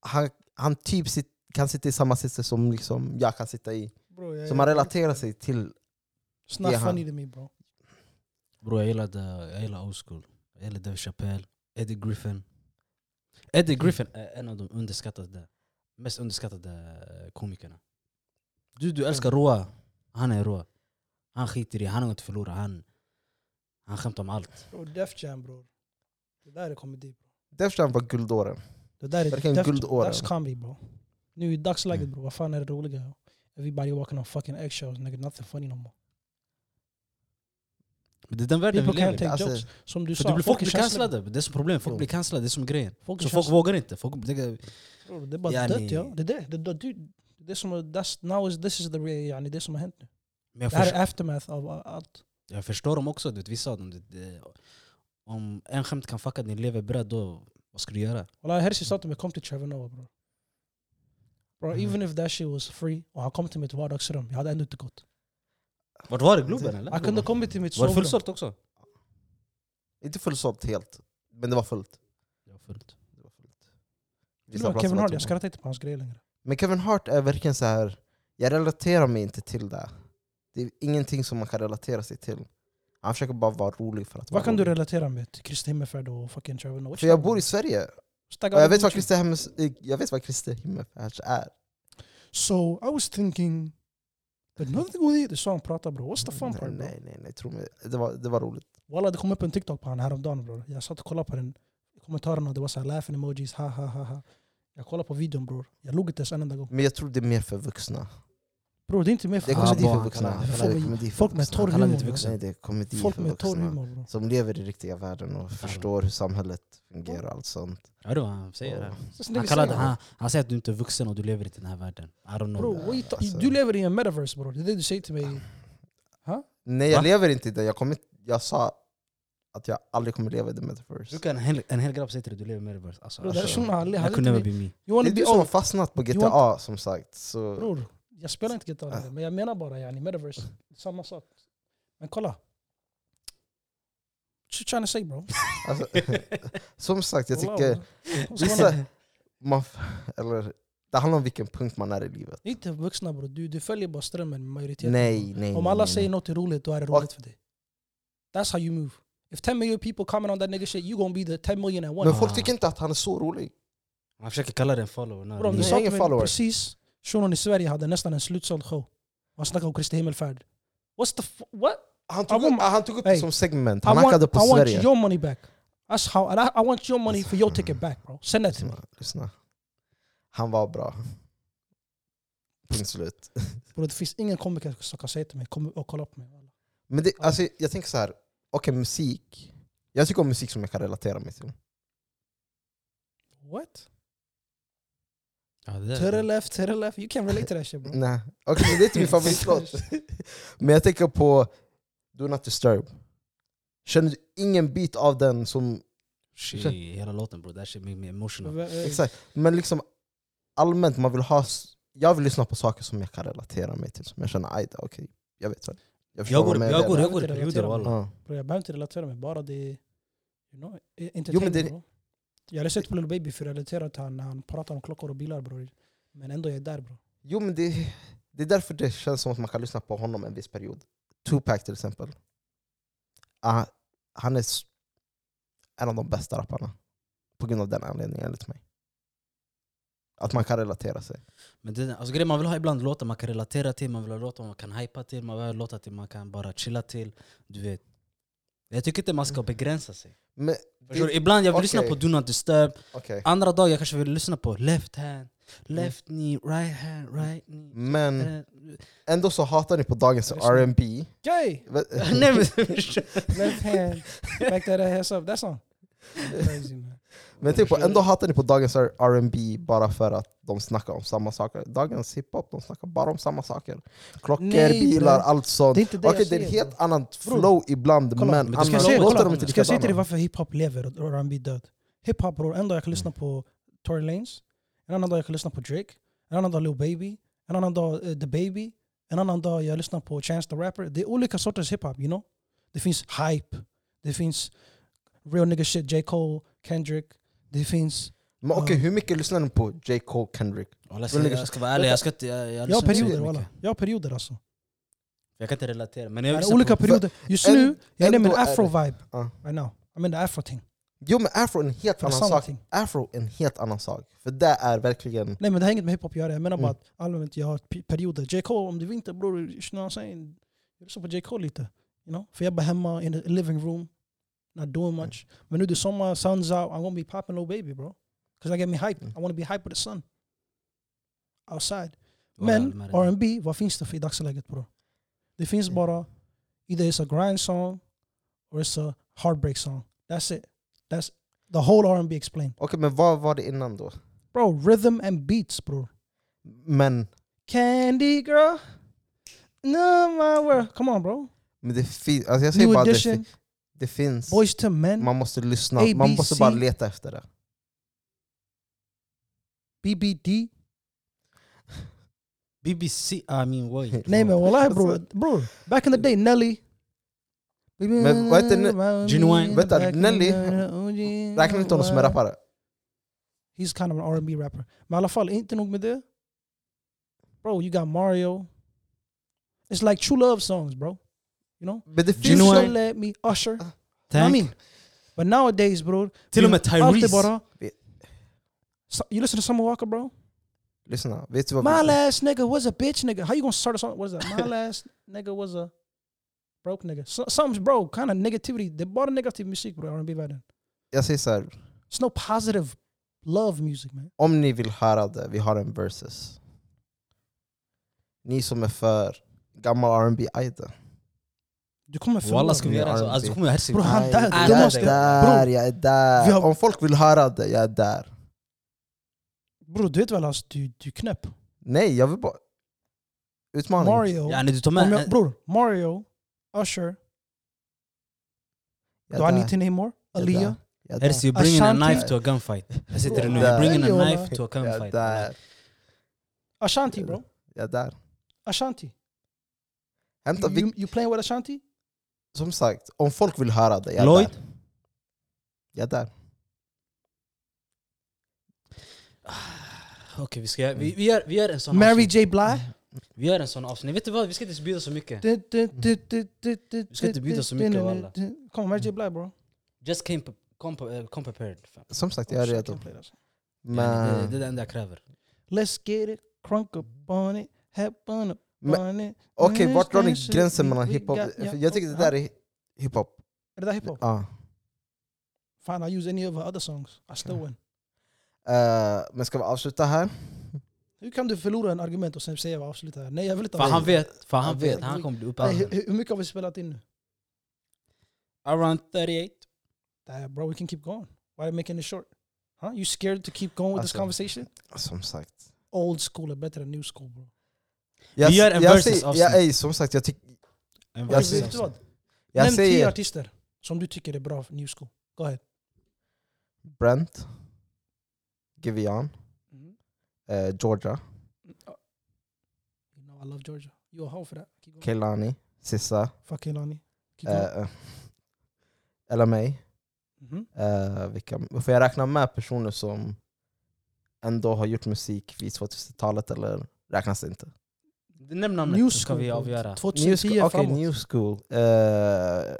B: han, han typ sit, kan sitta i samma sits som liksom jag kan sitta i.
C: bro jag,
B: Så man relaterar sig till...
C: It's not
B: det är han.
C: funny to me bro.
A: Bro, jag gillade, jag gillar old school. Jag gillar Dave Chappelle, Eddie Griffin. Eddie
C: Hmm.
A: Griffin eh, är en av de eh, underskattade, mest underskattade eh, komikerna. Du, du älskar råa Han är rå. Han skiter i, han har inget att förlora. Han, han skämtar om allt.
C: Bror, Def Jam bror. Det där är komedi bro.
B: Def Jam var guldåren.
C: Det där är
B: Verkligen
C: Def-
B: guldåren.
C: That's comedy bro. Nu i dagsläget
A: Mm.
C: bro, vad fan är det roliga? Everybody walking on fucking eggshells nigga, nothing funny no more.
A: Men det är den världen vi
C: People
A: lever
C: can't
A: i.
C: take
B: Alltså,
C: jokes. Som du
A: För det
C: sa,
A: blir, folk blir
C: känsliga.
A: cancellade. Det är som problemet, folk
B: Jo.
A: blir cancellade. Det är som grejen.
C: Folk är
A: Så folk
C: känsliga.
A: vågar inte. Folk, det,
C: Bror, Det är bara
A: Yani-
C: dött ja. Det är det. Det är dött. Du- Det är som, that's, now is, this is the, re- yani, det som har hänt nu.
A: men jag,
C: Det här
A: förstår,
C: är aftermath av uh, allt.
A: jag förstår dem också. Du vet, vissa av dem. Det, det, om en skämt kan fucka din leverbröd, då vad ska du göra?
C: Wallah, Hershey sa till mig, kom till Trevor Noah bror.
B: Mm-hmm.
C: Bro,
A: Mm.
C: even if that shit was free och han kom till mitt vardagsrum, jag hade ändå inte gått.
A: Vart var det? Globen eller?
C: Han kunde kommit till mitt
A: Var det
C: sovrum.
A: fullsålt också?
B: Inte fullsålt helt, men det var fullt.
A: Ja, fullt.
B: Det var fullt.
C: Till
B: Vissa
C: och med
B: platser
C: Kevin
B: var
C: Hart,
B: tomma.
C: jag skrattar inte på hans grejer längre.
B: Men Kevin Hart är verkligen så här. jag relaterar mig inte till det. Det är ingenting som man kan relatera sig till. Han försöker bara vara rolig för att vara
C: Vad kan du
B: rolig.
C: relatera med? Till Christer Himmelfärd och fucking Trevor Noah?
B: För jag bor i Sverige,
C: Stagga
B: och jag
C: av
B: vet vad
C: Gucci.
B: Christer Hemmels- eh, jag vet vad Christer Himmelfärds är.
C: So I was thinking, but nothing with it. Det är så han pratar bror. What's the fun part bro?
B: Nej, nej, nej, tro mig. Det var, det var roligt.
C: Walla det kom upp en TikTok på han häromdagen bror. Jag satt och kollade på den. I kommentarerna det var såhär laughing emojis, ha ha ha ha. Jag kollade på videon bror. Jag log inte ens en enda gång.
B: Men jag tror det är mer för vuxna.
C: Bror det är inte mer
B: Det
C: för
B: är
A: Ah,
B: komedi
A: barn,
B: för vuxna.
A: kan-
B: Jag
C: folk
B: kallar det
C: med-
B: komedi för
C: folk med
B: vuxna.
C: torr
A: Han kallar
C: humor.
A: det inte
C: bror.
A: vuxen.
B: Nej, det är komedi
C: Folk
B: för
C: med torr
B: vuxna.
C: humor bror.
B: Som lever i riktiga världen
A: Mm.
B: och förstår hur samhället fungerar och allt sånt.
A: Ja, det var han säger.
B: Och-
A: det.
C: Så
A: Han,
C: det
A: kallade,
C: säger-
A: han, han säger att du inte är vuxen och du lever inte i den här världen. I don't
C: Bro,
A: know.
C: what you ta-
B: Alltså-
C: du lever i en metaverse bror. Det är det du säger till mig.
B: Nej, jag
A: Va?
B: lever inte i det. Jag, kommer, jag sa att jag aldrig kommer leva i the metaverse.
A: Hur kan en hel, en hel grabb säga till dig du lever i metaverse? Alltså,
C: Bro, det här
A: alltså,
C: shunon han le-
A: that
C: han
A: could
C: lever
A: never
C: inte
A: be me.
C: You wanna
B: Det är
C: be
B: du som har
C: old.
B: fastnat på
C: You
B: GTA som sagt. Så
C: Bror, jag spelar inte GTA längre. Men jag menar bara yani metaverse. Samma sak. Men kolla. What you trying to say bro?
B: alltså, som sagt, jag
C: Kolla,
B: tycker...
C: bror. What's going on?
B: Vissa, man, f- eller, det handlar om vilken punkt man är i livet.
C: Ni är inte vuxna bror. Du, du följer bara strömmen med majoriteten.
B: Nej, nej.
C: Om
B: nej,
C: alla
B: nej.
C: säger något är roligt, då är det roligt för dig. That's how you move. If 10 million people comment on that nigga shit, you gonna be the 10 million at
B: Men
C: once.
B: folk tycker inte att han är så rolig.
A: Han försöker kalla det en follower.
C: Bror, om du
B: Nej,
C: sa
B: ingen
C: till mig
B: follower.
C: precis, shunon i Sverige hade nästan en slutsåld show. Man snackade om Kristi Himmelfärd. What's the f- what?
B: Han tog
C: Ja,
B: upp,
C: men-
B: han tog upp
C: Hey.
B: det som segment.
C: I
B: Han hackade
C: want,
B: på
C: I want
B: Sverige.
C: your money back. That's how, and I, I want your money for your ticket back bro. Send that to me.
B: Lyssna, lyssna. Han var bra. Punkt slut.
C: Bro, det finns ingen komiker som kan säga till mig, kom oh, och kolla på mig.
B: Men det, alltså, jag tänker så här. okej musik. Jag tycker om musik som jag kan relatera mig till.
C: What?
A: Ja, det
C: To the
A: är,
C: left, to the left. You can relate to that
A: Mm.
C: shit bro.
B: Nej, okej det är inte min favoritlåt. Men jag tänker på Do Not Disturb. Känner du ingen bit av den som...
A: shit, hela låten bror, that shit make me emotional.
B: Exakt. Men liksom allmänt, man vill ha... s- Jag vill lyssna på saker som jag kan relatera mig till. Som jag känner, aj då, okej, jag vet vad. Jag förstår
A: Jag
B: vad
A: går,
B: man
A: jag
B: menar."
A: går,
C: Jag vet
A: jag går i
C: inte
A: perioder
C: relatera
A: walla.
B: Ja.
C: Bro, jag behöver inte relatera mig, bara det... You know, e-
B: Jo, men
C: entertainment
B: det-
C: bro. Jag lyssnar inte på Lil Baby för jag relaterar till han när han pratar om klockor och bilar bror. Men ändå jag är där bror.
B: Jo men det, det är därför det känns som att man kan lyssna på honom en viss period. Tupac till exempel. Ah, han är s- en av de bästa rapparna. På grund av den anledningen enligt mig. Att man kan relatera sig.
A: Men det, alltså, grejen, man vill ha ibland låtar man kan relatera till, man vill ha låtar man kan hypa till, man vill ha låtar till man kan bara chilla till. Du vet. Jag tycker inte man
C: Mm.
A: ska begränsa sig.
B: Men,
A: Förstår du? Ibland jag vill lyssna
B: okej.
A: på Do Not Disturb,
B: okej.
A: andra dagar jag kanske vill lyssna på Left Hand, Left
C: Mm.
A: Knee, Right Hand, Right Knee.
B: men
A: Eh,
B: ändå så hatar ni på dagens
C: Jag lyssnar.
B: R&B.
C: Gay!
B: Va-
A: Nej men
C: Left hand, back that ass up. That song. Crazy man.
B: Men typ, ändå hatar ni på dagens R&B bara för att de snackar om samma saker. Dagens hiphop, de snackar bara om samma saker. Klockor,
C: Nej,
B: bilar,
C: bro.
B: allt sånt.
C: Det är inte det
B: Okej,
C: jag
B: det är en
C: säger,
B: helt annat
C: Bro,
B: flow ibland,
C: kolla.
B: men
A: Men
B: annars
A: du ska
C: se-
B: låter
A: kolla.
B: de inte
C: Ska jag säga till dig
B: likadana.
C: varför hiphop lever och R&B död? Hiphop bror, en dag jag kan lyssna på Tory Lanez, en annan dag jag kan lyssna på Drake, en annan dag Lil Baby, en annan dag eh, The Baby, en annan dag jag lyssnar på Chance the Rapper. Det är olika sorters hiphop, you know? Det finns hype, det finns real nigga shit, J. Cole, Kendrick, det finns...
B: Men okej, hur mycket lyssnar ni på J. Cole, Kendrick?
A: Walla, jag ska- Jag ska vara ärlig, jag ska inte... Jag, jag,
C: Jag har
A: lyssnar inte så
C: perioder
A: mycket.
C: walla. Jag har perioder alltså.
A: Jag kan inte relatera. Men
C: Jag
A: jag
C: har
A: lyssnar
C: olika
A: på-
C: perioder. Just
B: en-
C: nu, jag är inne i min
B: ändå är det-
C: afro-vibe
B: Ja.
C: right now. I'm in the afro-thing.
B: Jo men afro är en helt
C: För det
B: annan
C: sa
B: sak.
C: någonting.
B: Afro är en helt annan sak. För det är verkligen...
C: Nej men det har inget med hiphop att göra. Jag menar bara
B: Mm.
C: att allmänt jag har p- perioder. J. Cole, om det är vinter bror, you know what I'm saying? Jag lyssnar på J. Cole lite. You know? För jag är bara hemma in a living room, not doing
B: Mm.
C: much. Men nu det är sommar, sun's out, I'm gonna be popping little baby bro. Cause I get me hype.
B: Mm.
C: I wanna be hype with the sun. Outside.
A: Walla,
C: Men
A: Almarin.
C: R&B, vad finns det för i dagsläget bror? Det finns
B: Mm.
C: bara, either it's a grind song or it's a heartbreak song. That's it. That's the whole R&B explained.
B: Okej men vad var det innan då?
C: Bro, rhythm and beats bror.
B: Men,
C: Candy girl. No, my world. Come on, bro.
B: men det finns... Alltså jag säger
C: New
B: bara att det,
C: edition.
B: fi- det finns...
C: Boys to men.
B: Man måste lyssna.
C: A,
B: man
C: B,
B: måste
C: C.
B: bara leta efter det.
C: BBD.
A: BBC, I mean wait.
C: Nej men wallahi bror.
B: Alltså-
C: Bror. Back in the day, Nelly.
B: Men vad heter
A: Genuine.
B: Vänta,
C: Back in oh,
B: Nelly?
C: the-
B: Räknar inte honom som en rappare?
C: He's kind of an R&B rapper. Men i alla fall, inte nog med det. Bro, you got Mario. It's like true love songs, bro. You know?
B: Men det
A: Genuine.
B: finns...
C: You should let me usher.
A: Tack.
C: I mean, but nowadays, bror.
A: Till och med
C: Alltid
A: Tyrese.
C: bara. So- You listen to Summer Walker, bro?
B: Lyssna, vet du vad...
C: My last nigga was a bitch nigga. How you gonna start a song? What is that? My last nigga was a broke nigga. So, some's bro, kind of negativity. Det är bara negativ musik bro, R&B världen.
B: Jag säger så här.
C: It's no positive love music man.
B: om ni vill höra det, vi har en versus. Ni som är för gammal R&B ajde.
C: Du kommer förlora.
A: Walla ska vi
B: Ni
A: göra så?
B: R&B.
A: Alltså, kommer jag
C: Bro,
A: hälsa.
C: han där,
B: jag
A: du
B: är
A: måste-
B: där,
C: bro.
B: jag är där.
C: Vi har-
B: Om folk vill höra det, jag är där.
C: Bro, du vet väl alltså, du, du är knäpp.
B: Nej, jag vill bara... Utmaning.
C: Mario.
A: Yani du tar
C: om
A: med...
C: jag, bror, Mario, Usher.
B: Jag är
C: Do
B: där,
C: I need to name more?
B: jag är
C: Aaliyah.
B: där, jag är där.
A: Hersi, you're bringing a
C: Ashanti.
A: knife to a gunfight. Jag sitter där nu.
B: Där.
A: You're bringing
C: Jolla.
A: a knife to a
B: Jag är
A: gunfight.
B: där.
C: Ashanti bro.
B: Jag är där.
C: Ashanti.
B: Hämta,
C: You,
B: vi,
C: you, you playing with Ashanti?
B: som sagt, om folk vill höra det, jag är
A: Lloyd?
B: där. Jag är där.
A: Okej, vi ska... Vi, vi, gör, vi gör en sån
C: Mm. Mary
A: avsnitt.
C: J. Blige?
A: Vi gör en sån avsnitt. Vet du vad? Vi ska inte bjuda så mycket.
C: Du
A: ska inte bjuda så mycket, walla.
C: Kom, Mary J. Blige bro.
A: Just came, come, eh, come prepared. Fan.
B: Som sagt, jag är
C: Shit, I
B: redo.
C: can't play that song.
A: Yani, det,
B: Men,
A: det är det enda jag kräver.
C: Let's get it crunk up on it, have fun up
B: Men-
C: on it.
B: okej, vart drar ni
C: Understand, should
B: gränsen
C: we-
B: mellan
C: we
B: hiphop?
C: got-
B: För
C: yeah,
B: Jag tycker det där är hiphop.
C: Är det där hiphop?
B: Ja.
C: Fan, I use any of her other songs. I still win.
B: Eh, men ska vi avsluta här?
C: Hur kan du förlora en argument och sen säga vad avsluta här? Nej, jag vill inte
A: För
C: ha-
A: han vet. För han
B: Han
A: vet.
B: vet.
A: Han kommer bli
C: Nej,
A: uppäten.
C: hur, hur mycket har vi spelat in nu?
A: Around 38.
C: Nah, bro, we can keep going. Why are you making it short? Huh? You scared to keep going with this
B: Alltså.
C: conversation?
B: Som sagt.
C: Old school är bättre än new school bro.
B: Jag,
A: Vi gör en
B: jag,
A: versus
B: säger-
A: avsnitt.
B: jag, ej, som sagt, jag, tyck,
A: En
B: Jag
C: Vet
A: versus
B: ser-
C: Alltså, vet du
A: avsnitt.
C: vad?
B: jag
C: Nämn tio
B: säger
C: artister som du tycker är bra för new school. Go ahead.
B: Brent, Givian,
A: Mm-hmm.
B: eh, Georgia,
C: You know I love Georgia. You a hoe for that. Keep going.
B: Kehlani, Sissa,
C: Fuck Kehlani. Keep going.
B: eh, LMA.
C: Mhm.
B: Eh, vilka, får jag räkna med personer som ändå har gjort musik vid 2000-talet eller räknas det inte?
A: Nämn namnet
C: New
A: så ska vi
C: school,
A: avgöra.
C: 2010
B: New school, okej,
C: framåt.
B: new school. Eh,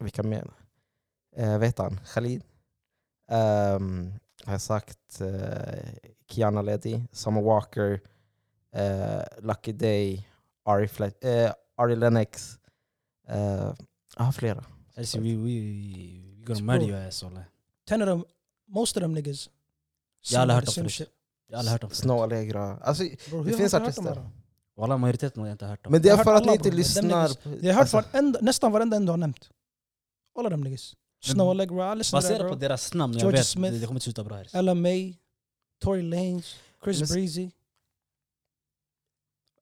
B: vilka mer? Uh, vet han? Khalid. Ehm, har jag sagt eh, Kiana Ledi, Summer Walker, eh, Lucky Day, Ari, Fle- eh, Ari Lennox. Eh, jag har flera.
A: Hersi, we, we, we gonna
C: Bror.
A: murder your ass. walla.
C: Ten of them, most of them niggas.
A: Jag har aldrig hört
C: sound
A: dem
C: the same
A: förut. Jag har aldrig hört dem
B: Snow
A: förut.
B: Allegra. Alltså,
C: shit. Bro, hur
B: Det
C: har
B: finns
C: jag hört dem
B: artister.
C: här då?
A: Walla, majoriteten har jag inte hört dem.
B: men det
C: Jag
B: är
C: har
B: för
C: hört
B: att ni
C: alla,
B: inte
C: bror, men dem
B: lyssnar.
C: Jag har hört
B: Alltså,
C: varenda, nästan varenda en du har nämnt. Alla de niggas. Snow
A: Men-
C: Allegra, listen to that
A: Baserat på
C: bro.
A: deras namn, jag
C: George
A: vet.
C: Smith.
A: Det det kommer inte sluta bra. Hersi.
C: Ella May, Tory Lanez, Chris
B: Men-
C: Breezy.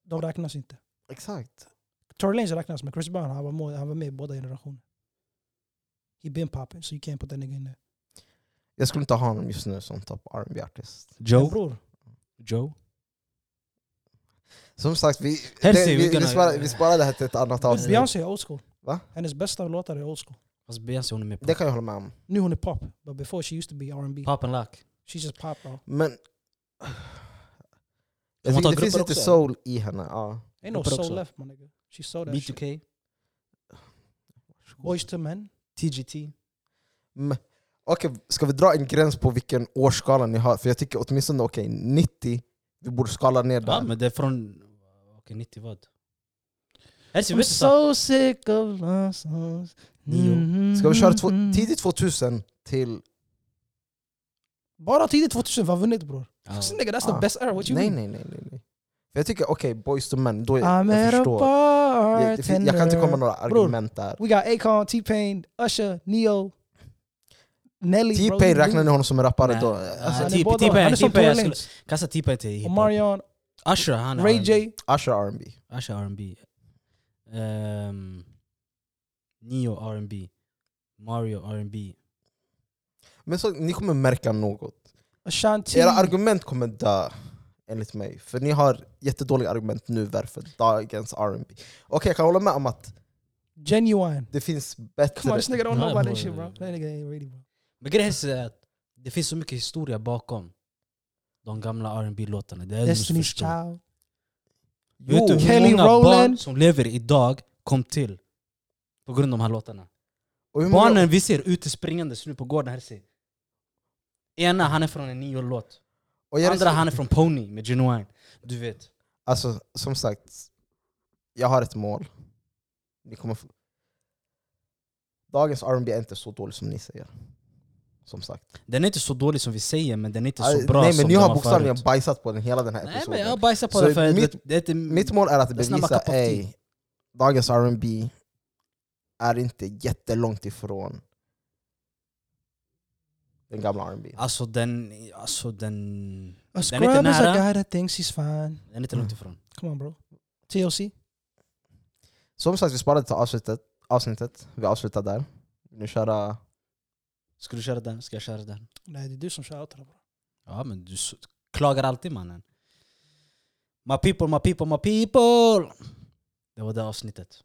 C: De räknas inte.
B: exakt.
C: Tory Lanez räknas men Chris Brown han var, må- han var med i båda generationer. He been popping so you can't put that nigga in there.
B: Jag skulle inte ha honom just nu som topp R&B artist
C: Men
A: Joe.
C: bror,
A: Joe.
B: Som sagt, vi,
A: Helsing,
B: det, vi,
A: vi kan-
B: vi, sparar, vi sparar det här till ett annat
A: Men
C: Dude,
B: avsnitt.
C: Beyoncé är old school.
B: Va?
C: Hennes bästa låtar är old school.
A: Fast Beyoncé hon är med
B: Det
A: på.
B: kan jag hålla med om.
C: Nu hon är pop, but before she used to be R&B.
A: Pop and lock.
C: She just pop bro.
B: Men...
A: man
B: Jag tycker
A: ta
B: det finns
A: grupper
B: lite
A: också,
B: soul i henne. Ja.
C: Ain't no
A: Grupper
C: soul
A: också.
C: left my nigga. She sold that shit.
A: B2K.
C: Boys to men.
A: TGT.
B: Men, Okej, ska vi dra en gräns på vilken årsskala ni har? För jag tycker åtminstone okej, 90, vi borde skala ner där.
A: Ja, men det är från... Okej, 90 vad? Elsie,
C: I'm
A: vet du
C: so
A: så...
C: sick of love songs.
A: Nio.
C: Mhm.
B: Ska vi köra två, tidigt 2000 till...
C: Bara tidigt 2000, vad har vunnit bror?
A: Ja.
C: Nigga, that's the
B: Ah.
C: best era, what you
B: Nej,
C: mean?
B: nej, nej. nej, nej. För jag tycker okej, boys to men, då jag,
C: I'm
B: jag
C: at a
B: förstår. Jag, det fin-
C: bartender.
B: jag kan inte komma med några argument där.
C: We got Akon, T-Pain, Usher, Neo, Nelly. bro,
B: T-Pain,
C: you
B: räknar ni honom som en rappare
A: Nej.
B: då?
A: Nej.
B: Alltså,
C: Han är
A: T-
C: båda-
A: Uh, T-Pain,
C: han är som
A: T-Pain, jag
C: Tory Lanez.
A: Kasta T-Pain till hiphop.
C: Omarion,
A: Usher, han är
C: Ray
A: R&B.
C: J.
B: Usher R&B.
A: Usher R&B. Ehm, Neo R&B. Mario R&B.
B: Men så, ni kommer märka något.
C: Ashanti.
B: Era argument kommer dö, enligt mig. För ni har jättedåliga argument nu varför dagens R&B. Okej, jag kan hålla med om att
C: Genuine.
B: det finns
C: Come on,
B: bättre...
C: this nigga don't know
A: Nej,
C: about that
A: bro.
C: shit bro. That nigga ain't ready bro.
A: Men grejen är att det finns så mycket historia bakom de gamla rb låtarna Det är det som
C: Destiny's
A: förstår.
C: Child.
A: Vet du hur
C: Kelly
A: många barn
C: Rowland.
A: som lever idag kom till på grund av de här låtarna?
B: Och hur många-
A: Barnen vi ser ute springandes nu på gården här ser. Ena han är från en Neo-låt.
B: och jag
A: Andra han är från Pony med Genuine. Du vet.
B: Alltså, som sagt. Jag har ett mål. Ni kommer få... Dagens R&B är inte så dålig som ni säger. Som sagt.
A: Den är inte så dålig som vi säger men den är inte så
B: Ah,
A: bra
B: Nej
A: som
B: men ni
A: den
B: har
A: var
B: bokstavligen
A: förut.
B: bajsat på den hela den här
A: Nej
B: episoden.
A: men jag bajsar på
B: Så
A: det för
B: mitt-
A: det, det är inte...
B: Mitt mål är att
A: Let's
B: bevisa
A: not back up of tea.
B: att dagens R&B är inte jättelångt ifrån den gamla R&B.
A: Alltså den... Alltså den...
C: A
A: Den är inte
C: scrub is a
A: nära.
C: guy that thinks he's fine.
A: Den är inte långt ifrån.
C: Come on bro. TLC.
B: Som sagt, vi sparade till avslutet. avsnittet. Vi avslutar där. Vill ni köra...
A: Ska du köra den? Ska jag köra den?
C: Nej det är du som kör outra bro.
A: Ja men du s- klagar alltid mannen. My people, my people, my people! Det var det avsnittet.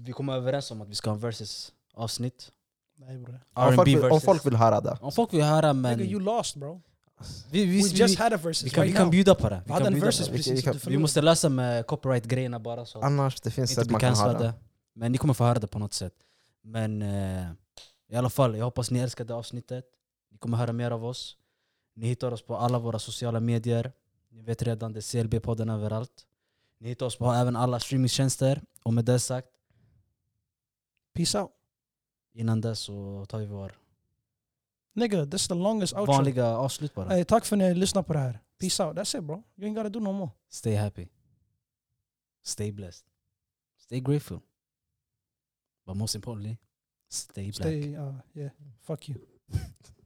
A: Vi kom överens om att vi ska ha en versus avsnitt.
C: Nej bro.
B: Om folk,
A: R&B
B: vill,
A: versus.
B: om folk vill höra det.
A: Om folk vill höra men...
C: Nigga you
A: Vi,
C: lost bro.
A: vi,
C: We
A: vi,
C: just
A: vi,
C: had a versus
A: vi, kan, vi
C: right
A: kan
C: now.
A: bjuda på det.
C: Vi
A: Vi,
C: hade
A: kan
C: en
A: bjuda
C: versus
A: på det.
B: Vi
C: precis.
B: kan-
C: så du
A: vi måste lösa med copyright-grejerna bara så att
B: Annars, det finns
A: inte
B: sätt
A: bli
B: man kan höra
A: cancellade.
B: det.
A: Men ni kommer få höra det på något sätt. Men eh, i alla fall, jag hoppas ni älskade avsnittet. Ni kommer höra mer av oss. Ni hittar oss på alla våra sociala medier. Ni vet redan, det är CLB-podden överallt. Ni hittar oss på även alla streamingtjänster. Och med det sagt,
C: Peace out.
A: innan det så tar vi vår
C: Nigga this is the longest outro.
A: vanliga avslut bara.
C: Hey, Eh, tack för att ni lyssnade på det här. Peace out. That's it bro. You ain't gotta do no more.
A: Stay happy. Stay blessed. Stay grateful. But most importantly, stay black.
C: Stay, uh, yeah. Fuck you.